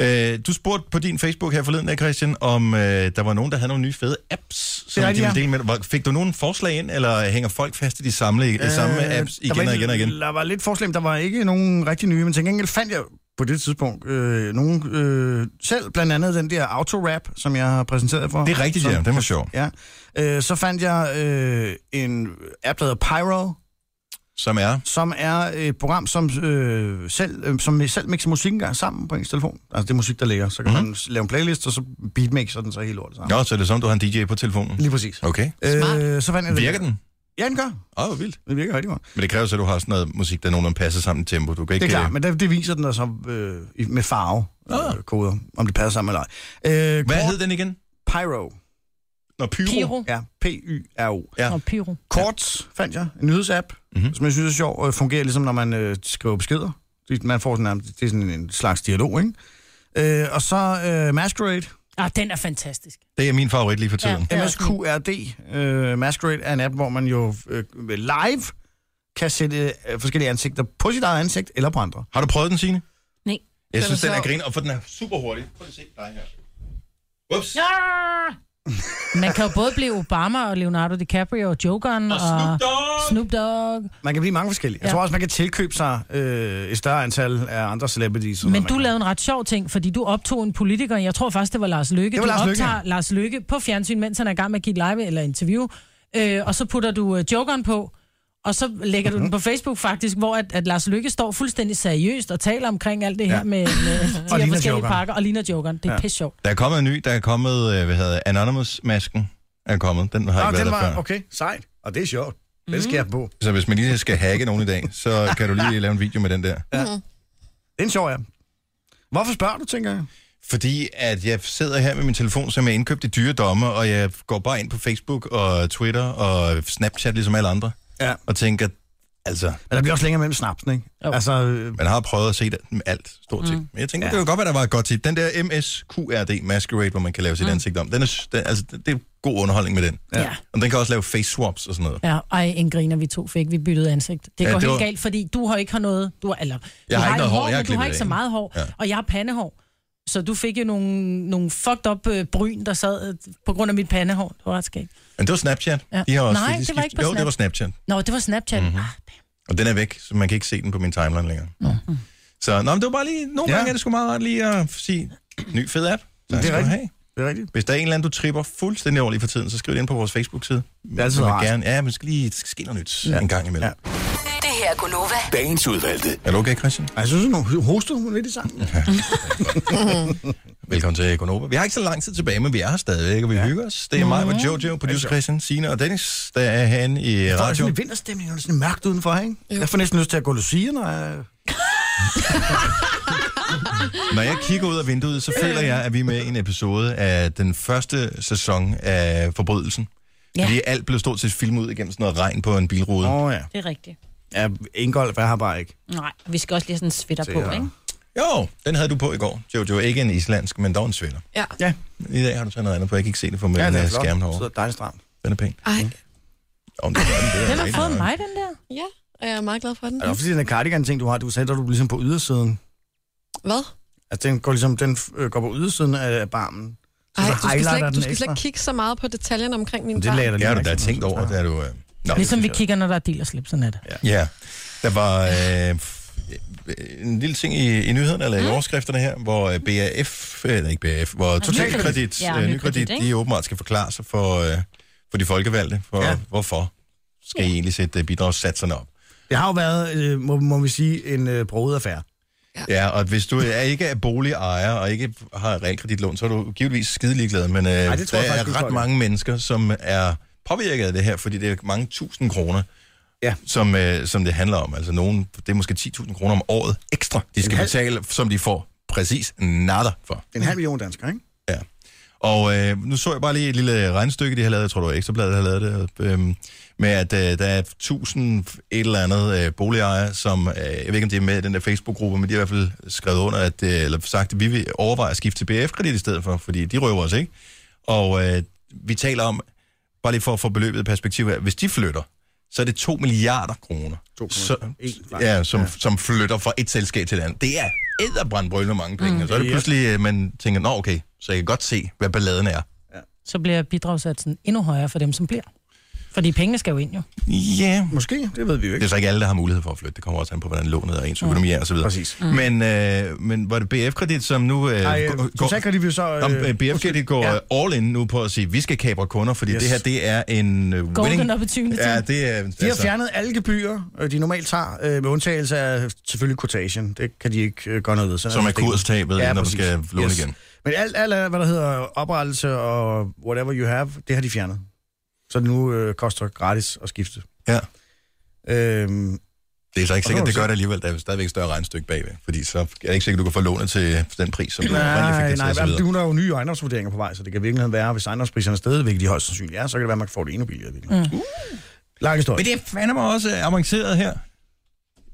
A: ja. Øh, du spurgte på din Facebook her forleden, dag, Christian, om øh, der var nogen, der havde nogle nye fede apps, som
F: er
A: de
F: rigtigt,
A: ville
F: ja.
A: dele med dig. Hvor- Fik du nogen forslag ind, eller hænger folk fast i de samle, øh, samme apps
F: der var
A: igen og
F: ikke-
A: igen og igen?
F: Der var lidt forslag, men der var ikke nogen rigtig nye, men til gengæld fandt jeg på det tidspunkt øh, nogen øh, selv, blandt andet den der autorap, som jeg har præsenteret for.
A: Det er rigtigt,
F: som,
A: ja. Den var sjov.
F: Ja. Øh, så fandt jeg øh, en app, der hedder Pyro,
A: Som er?
F: som er et program, som, øh, selv, øh, som selv mixer musikken gang sammen på ens telefon. Altså det er musik, der ligger. Så
A: Mhm.
F: kan mm-hmm. man s- lave en playlist, og så beatmixer den så helt lortet sammen.
A: Nå, så er det som, du har en DJ på telefonen? Lige
F: præcis.
A: Okay.
F: Øh, så fandt jeg
A: Virker den?
F: Ja, den gør.
A: Åh, oh, vildt.
F: Den virker rigtig godt.
A: Men det kræver så, at du har sådan noget musik, der nogenlunde passer sammen i tempo. Du kan
F: Det
A: ikke... øh,
F: er klart, men der, det viser den altså øh, i- med farve øh, koder, om det passer sammen eller ej. Øh,
A: Ah. Hvad
F: kort-
A: hed den igen?
F: Pyro.
A: Nå, Pyro. Pyro.
F: Ja, P-Y-R-O.
A: Ja. Mhm.
C: Nå, pyro.
F: Kort fandt jeg, en nyhedsapp, mm-hmm. som jeg synes er sjov, og fungerer ligesom, når man øh, skriver beskeder. Det- Man får sådan, nærmest- det er sådan en slags dialog, ikke? Øh, og så øh, Masquerade.
C: Ah, den er fantastisk.
A: Det er min favorit lige for tiden.
F: Ja, MSQRD, øh, Masquerade, er en app, hvor man jo øh, live kan sætte øh, forskellige ansigter på sit eget ansigt eller på andre.
A: Har du prøvet den, Signe?
E: Nej.
A: Jeg synes, den er grin, og for den er super hurtig. Prøv lige at se dig her. Ups.
C: Ja! Man kan jo både blive Obama og Leonardo DiCaprio og Jokeren og, Snoop Dogg. Snoop Dogg.
F: Man kan blive mange forskellige. Jeg
C: Ja.
F: tror også, man kan tilkøbe sig øh, et større antal af andre celebrities.
C: Men du lavede en ret sjov ting, fordi du optog en politiker, jeg tror faktisk, det var Lars Løkke.
F: Det var
C: du
F: Lars Løkke,
C: optager Lars Løkke på fjernsyn, mens han er i gang med at give et live eller interview, øh, og så putter du øh, jokeren på, og så lægger du den på Facebook faktisk, hvor at, at Lars Løkke står fuldstændig seriøst og taler omkring alt det her
A: Ja.
C: med, med de her
A: ligner
C: forskellige
A: jokeren.
C: pakker, og ligner jokeren. Det er ja.
A: Ja.
C: pisse sjovt.
A: Der er kommet en ny, der er kommet, øh, hvad hedder det, Anonymous-masken er kommet. Den har
F: Nå,
A: ikke
F: den
A: været der
F: var
A: før. Mm.
F: okay, sejt. Og det er sjovt. Den skal jeg på.
A: Så hvis man lige skal hacke nogen i dag, så kan du lige lave en video med den der.
F: Ja. Det er en sjov app. Hvorfor spørger du, tænker jeg?
A: Fordi at jeg sidder her med min telefon, som jeg indkøbt i dyre domme, og jeg går bare ind på Facebook og Twitter og Snapchat, ligesom alle andre,
F: ja.
A: og tænker, altså...
F: Men der bliver også længere mellem snapsen, ikke? Jo. Altså, øh,
A: Man har prøvet at se det med alt, stort set. Mm. Men jeg tænker, ja. det kunne godt være, der var et godt tip. Den der MSQRD, Masquerade, hvor man kan lave sit mm. ansigt om, den er, s- den, altså, det det er god underholdning med den.
C: Ja.
A: Og den kan også lave face swaps og sådan noget.
C: Ja, ej, en griner vi to fik. Vi byttede ansigt. Det
A: Ja,
C: går
A: det
C: helt
A: var-
C: galt, fordi du har ikke har noget... Du har, eller, du
A: har ikke
C: et
A: noget hår, jeg har
C: men du har
A: klippet
C: ikke
A: af,
C: så
A: ikke?
C: meget hår. Ja.
A: Ja.
C: Og jeg har pandehår. Så du fik jo nogle, nogle fucked up øh, bryn, der sad øh, på grund af mit pandehår. Det var ret skægt.
A: Men det var Snapchat.
C: Ja.
A: De har også
C: Nej,
A: de
C: det var
A: skift-
C: ikke på
A: Jo,
C: Snap.
A: det var Snapchat.
C: Nå, det var Snapchat.
A: Mhm.
C: Mm-hmm.
A: Og den er væk, så man kan ikke se den på min timeline længere. Mm. Så nå, men det var bare lige, nogle
F: Ja.
A: ja. gange er det sgu meget rart lige at sige, ny fed app. Tak
F: det
A: skal
F: er
A: du
F: rigtigt.
A: have.
F: Det er rigtigt.
A: Hvis der er en eller anden, du tripper fuldstændig over lige for tiden, så skriv det ind på vores Facebook-side. Det
F: er altid rart.
A: gerne. Ja, men skal lige det skal ske noget nyt ja. en gang imellem. Ja.
H: Det her er Gunova.
A: Dagens udvalgte. Er du okay, Christian?
F: Jeg synes, hun hostede hun lidt i sangen.
A: Velkommen til Konoba. Vi har ikke så lang tid tilbage, men vi er her stadigvæk, og vi ja. hygger os. Det er mig, med Jojo, producer Christian, Sina og Dennis, der er herinde i
F: Mm-hmm. Altså- Jeg får sådan
A: radioen.
F: en vinterstemning, og det er sådan mørkt udenfor, ikke? Jeg får næsten lyst til at gå Lucia, når jeg...
A: [LAUGHS] Når jeg kigger ud af vinduet, så føler jeg, at vi er med i en episode af den første sæson af Forbrydelsen.
E: Ja.
A: Ja. Fordi alt blev stort set filmet ud igennem sådan noget regn på en bilrude.
F: Åh oh, ja.
E: Det er rigtigt.
F: Ja, Ingolf er her bare ikke.
E: Nej, vi skal også lige have sådan en sweater
A: Se
E: på,
A: her.
E: ikke?
A: Jo, den havde du på i går, Jojo. Ikke en islandsk, men dog en sweater.
D: Ja.
F: ja.
A: I dag har du taget noget andet på. Jeg kan ikke se det for min
F: Ja, det er
A: ja,
F: flot.
A: skærm
F: Så
A: herovre.
F: er dejligt stramt. Mm.
A: Den er pæn.
D: Ej.
A: Om det er den,
C: Den
A: det
C: har
A: er
C: fået mig, den der.
D: Ja, og jeg er meget glad for den.
F: Er det også fordi, den cardigan-ting, du har, du sætter du ligesom på ydersiden?
D: Hvad?
F: Altså, den går ligesom, den øh, går på ydersiden af barmen.
D: Ej, du skal, slet
F: highlighter
D: ikke,
F: den
D: du skal slet
F: ekstra.
D: ikke kigge så meget på detaljerne omkring min
A: Det
D: barn.
A: lagde jeg da lige. Det har du da tænkt over, da du... Øh... Nå,
C: Ligesom vi kigger, når der er deal og slip, sådan er det.
A: Ja, der var øh, f- en lille ting i, i nyhederne, eller i overskrifterne her, hvor øh, BAF, eller ikke BAF, hvor Totalkredit,
Q: Ja,
A: øh,
Q: Nykredit,
A: Nykredit,
Q: ikke?
A: de åbenbart skal forklare sig for, øh, for de folkevalgte, for ja. hvorfor skal I egentlig sætte øh, bidragssatserne op.
F: Det har jo været, øh, må, må vi sige, en øh, broet affære.
A: Ja, og hvis du er ikke er boligejer og ikke har realkreditlån, så er du givetvis skidelig glad, men øh, Ej,
F: det tror
A: der
F: jeg faktisk, du
A: er
F: tror,
A: ret
F: det.
A: mange mennesker, som er påvirket af det her, fordi det er mange tusind kroner, ja. som, øh, som det handler om. Altså nogen, det er måske 10.000 kroner om året ekstra, de skal
F: halv-
A: betale, som de får præcis nada for.
F: En halv million danskere, ikke?
A: Og øh, nu så jeg bare lige et lille regnstykke, de har lavet, jeg tror det var Ekstrabladet, der har lavet det, øhm, med at øh, der er 1000 et eller andet øh, boligejere, som, øh, jeg ved ikke om de er med i den der Facebook-gruppe, men de har i hvert fald skrevet under, at, øh, eller sagt, at vi vil overveje at skifte til BF-kredit i stedet for, fordi de røver os, ikke? Og øh, vi taler om, bare lige for at få beløbet i perspektiv her, hvis de flytter, så er det 2 milliarder kroner, så,
M: øh,
A: ja, som, ja. som flytter fra et selskab til et andet. Det er æderbrandbrølende mange penge.
C: Mm.
A: Mm. Og så er det
C: Ja.
A: pludselig, øh, man tænker, nå okay, så jeg kan godt se, hvad balladen er.
C: Så bliver bidragssatsen endnu højere for dem, som bliver. Fordi pengene skal jo ind, jo.
A: Ja,
F: måske. Det ved vi jo ikke.
A: Det er så ikke alle, der har mulighed for at flytte. Det kommer også an på, hvordan lånet er, ens økonomi er osv. Præcis. Mm. Men, øh, men var det BF-kredit, som nu... Øh,
F: Nej, øh,
A: går-
F: totalkredit vil så...
A: Nå, men, øh, BF-kredit går ja. all in nu på at sige, vi skal kapre kunder, fordi
F: Yes.
A: yes. det her, det er en øh,
F: Golden
A: winning...
F: opportunity.
A: Ja, det er... altså-
F: De har fjernet alle gebyrer, øh, de normalt tager, øh, med undtagelse af selvfølgelig quotation. Det kan de ikke øh, gøre noget ved. Sådan
A: Som er
F: det.
A: kurstabet, når man
F: præcis.
A: skal låne igen.
F: Men alt, alt, er, hvad der hedder oprettelse og whatever you have, det har de fjernet. Så det nu øh, koster gratis at skifte.
A: Ja.
F: Øhm,
A: Det er så ikke
F: Og
A: sikkert,
F: så må
A: det
F: vi
A: gør
F: se.
A: det alligevel. Der er stadigvæk et større regnstykke bagved, fordi så er det ikke sikkert, du kan få lånet til den pris, som du oprindeligt fik
F: nej,
A: det til
F: nej,
A: og så
F: nej,
A: videre.
F: du har jo nye ejendomsvurderinger på vej, så det kan virkelig være, hvis ejendomspriserne er stedet, hvilket de højst sandsynligt er, så kan det være, at man får det endnu billigere. Mm. Uh. Lang historie.
A: Men det er fandme også øh, avanceret her.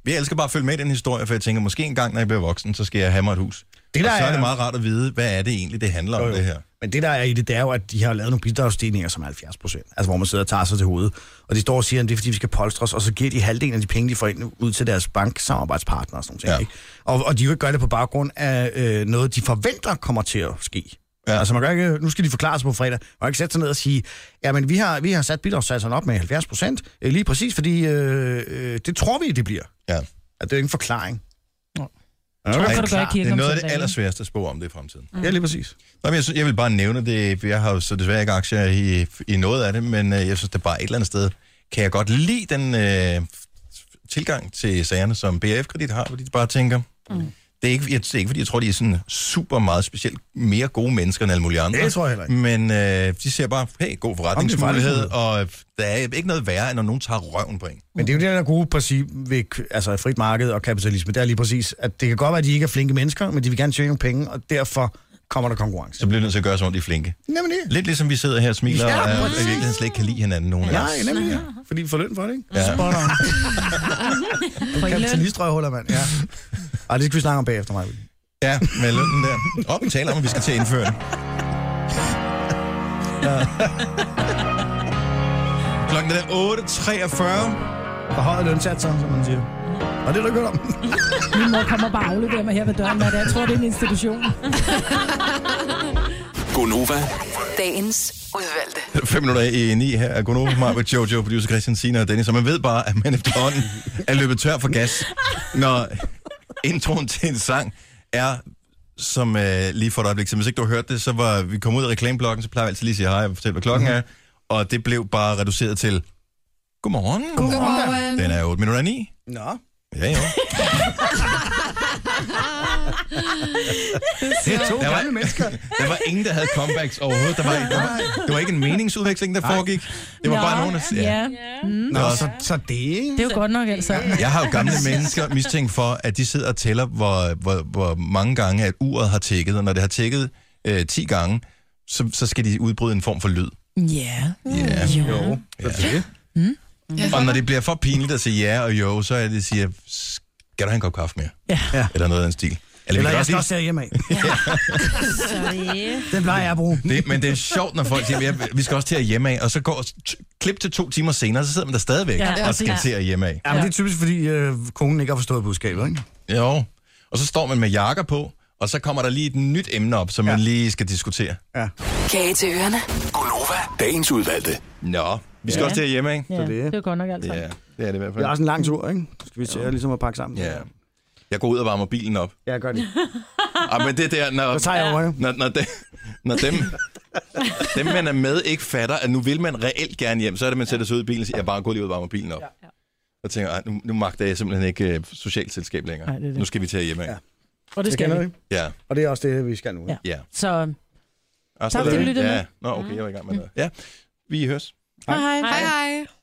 A: Vi elsker bare at følge med i den historie, for jeg tænker, måske en gang, når jeg bliver voksen, så skal jeg have mig et hus.
F: Det
A: Det
F: der
A: der og så er
F: er-
A: det meget rart at vide, hvad er det egentlig, det handler om, det her.
F: Men det, der er i det, det er jo, at de har lavet nogle bidragsstigninger som er 70 procent. Altså, hvor man sidder og tager sig til hovedet. Og de står og siger, at det er, fordi vi skal polstre os, og så giver de halvdelen af de penge, de får ind ud til deres banksamarbejdspartner og sådan noget. Ja. Ikke? Og, og de vil ikke gøre det på baggrund af øh, noget, de forventer kommer til at ske. Ja. Altså, man kan ikke, nu skal de forklare sig på fredag. Man kan ikke sætte sig ned og sige, jamen, vi har, vi har sat bidragssatserne op med 70 procent, øh, lige præcis, fordi øh, øh, det tror vi, det bliver.
A: Ja.
F: At det er jo ikke en forklaring.
A: Ja,
F: Tror du,
A: det,
F: du går i
A: er
F: kirke
A: det er
F: om
A: noget af det
F: søndagen?
A: allersværeste at spå om det i fremtiden.
F: Mm. Ja, lige præcis.
A: Nå, men jeg, synes, jeg vil bare nævne det, for jeg har jo så desværre ikke aktier i, i noget af det, men øh, jeg synes, det er bare et eller andet sted. Kan jeg godt lide den øh, tilgang til sagerne, som BAF-kredit har, hvor de bare tænker,
Q: Mm.
A: det er, ikke, jeg, det er ikke, fordi jeg tror, de er sådan super meget specielt mere gode mennesker end alle mulige andre.
F: Det tror jeg heller ikke.
A: Men øh, de ser bare, hey, god forretningsmulighed, og der er ikke noget værre, end når nogen tager røven på en.
F: Men det er jo det, der er gode princip ved k- altså, frit marked og kapitalisme. Det er lige præcis, at det kan godt være, at de ikke er flinke mennesker, men de vil gerne tjene nogle penge, og derfor kommer der konkurrence.
A: Så bliver de nødt til at gøre, som om de er flinke.
F: Nemlig det.
A: Lidt ligesom vi sidder her og smiler,
F: Ja,
A: ja, og er- og i
F: præcis.
A: virkeligheden slet ikke kan lide hinanden, nogen af
F: Nej,
A: os.
F: nemlig det. Fordi de får løn for det, ikke?
A: Ja.
F: Spot
A: [LAUGHS]
F: on.
A: løn.
F: Kapitalistrøghuller, mand. Ja. Ej, det skal vi snakke om bagefter, mig.
A: Ja, med lønnen der. Op, vi taler om, at vi skal til at indføre den. Klokken er 8.43.
F: Forhøjet lønsatser, som man siger. Og det er du ikke hørt om.
C: Min mor kommer bare og afleverer mig her ved døren, og jeg tror, det er en institution.
A: Gonova.
H: Dagens udvalgte.
A: [LAUGHS] 5 minutter i 9 her er Gonova, mig med Jojo, producer Christian Sina og Dennis. Og man ved bare, at man efterhånden er løbet tør for gas, når introen til en sang er som øh, lige for et øjeblik. Så hvis ikke du har hørt det, så var vi kom ud af reklameblokken, så plejer vi altid lige at sige hej og fortælle, hvad
Q: Mhm.
A: klokken er. Og det blev bare reduceret til, godmorgen.
Q: Godmorgen.
A: Den er 8 minutter i 9.
F: Nå.
A: Ja, jo.
Q: [LAUGHS] Det er to
A: Der var-
Q: gamle mennesker.
A: [LAUGHS] Der var ingen, der havde comebacks overhovedet. Der var, der var, det var ikke en meningsudveksling, der
F: Nej.
A: foregik. Det var
C: Nå,
A: bare nogen, der...
C: Ja. Mm.
A: Nå, så,
F: så det... Det
C: er jo godt nok, altså.
A: Jeg har jo
C: [LAUGHS]
A: gamle mennesker mistænkt for, at de sidder og tæller, hvor, hvor, hvor mange gange, at uret har tækket. Og når det har tækket øh, 10 gange, så, så skal de udbryde en form for lyd.
C: Ja. Mm.
A: Ja, jo. Ja.
C: Ja.
A: Og når det bliver for pinligt at sige ja og jo, så er det, siger, skal du have en kop kaffe mere?
F: Ja.
A: Eller noget af den stil. vi
F: Eller
A: kan
F: jeg
A: godt
F: skal
A: lige-
F: også derhjemme af.
E: Sorry.
F: Den plejer jeg at bruge.
A: Det, men det er sjovt, når folk siger, "Ja, vi skal også til at hjemme af, og så går t- klip til to timer senere, så sidder man der stadigvæk
F: Ja,
A: ja, og skal
F: præcis.
A: til at hjemme af.
F: Ja, men det er typisk, fordi øh, konen ikke har forstået budskabet, ikke?
A: Jo. Og så står man med jakker på, Og så kommer der lige et nyt emne op, som ja. man lige skal diskutere. Ja.
H: Kage til ørerne.
A: Dagens udvalgte. Nå, vi skal
B: Ja.
A: ja. også til hjemme, ikke?
B: Ja, Så det- det
C: er godt nok alt
A: Ja, det er det i hvert fald.
B: Det er også en lang tur, ikke? Så Skal vi til at ligesom at pakke sammen?
A: Ja. Jeg går ud og varmer bilen op.
B: Ja, gør det.
A: Ah, men det der, når,
B: tager jeg over, jo.
A: når, når, de, når dem, dem, man er med, ikke fatter, at nu vil man reelt gerne hjem, så er det, man sætter sig ud i bilen og siger, jeg bare går lige ud og varmer bilen op. Ja. Og tænker, jeg, "Ej, nu, nu magter jeg simpelthen ikke uh, socialt selskab længere.
C: Nej, det er det.
A: Nu skal vi til at hjemme. Ja.
C: Og det skal
B: kender
C: vi.
A: ja.
B: Og det er også det, vi skal nu.
A: ja.
C: Så
A: Og så
C: Tak,
A: er det-
C: fordi du lyttede
A: Altså, ja.
C: med.
A: Nå, okay, jeg var i gang med noget. Ja, vi høres.
C: hej hej. hej, hej.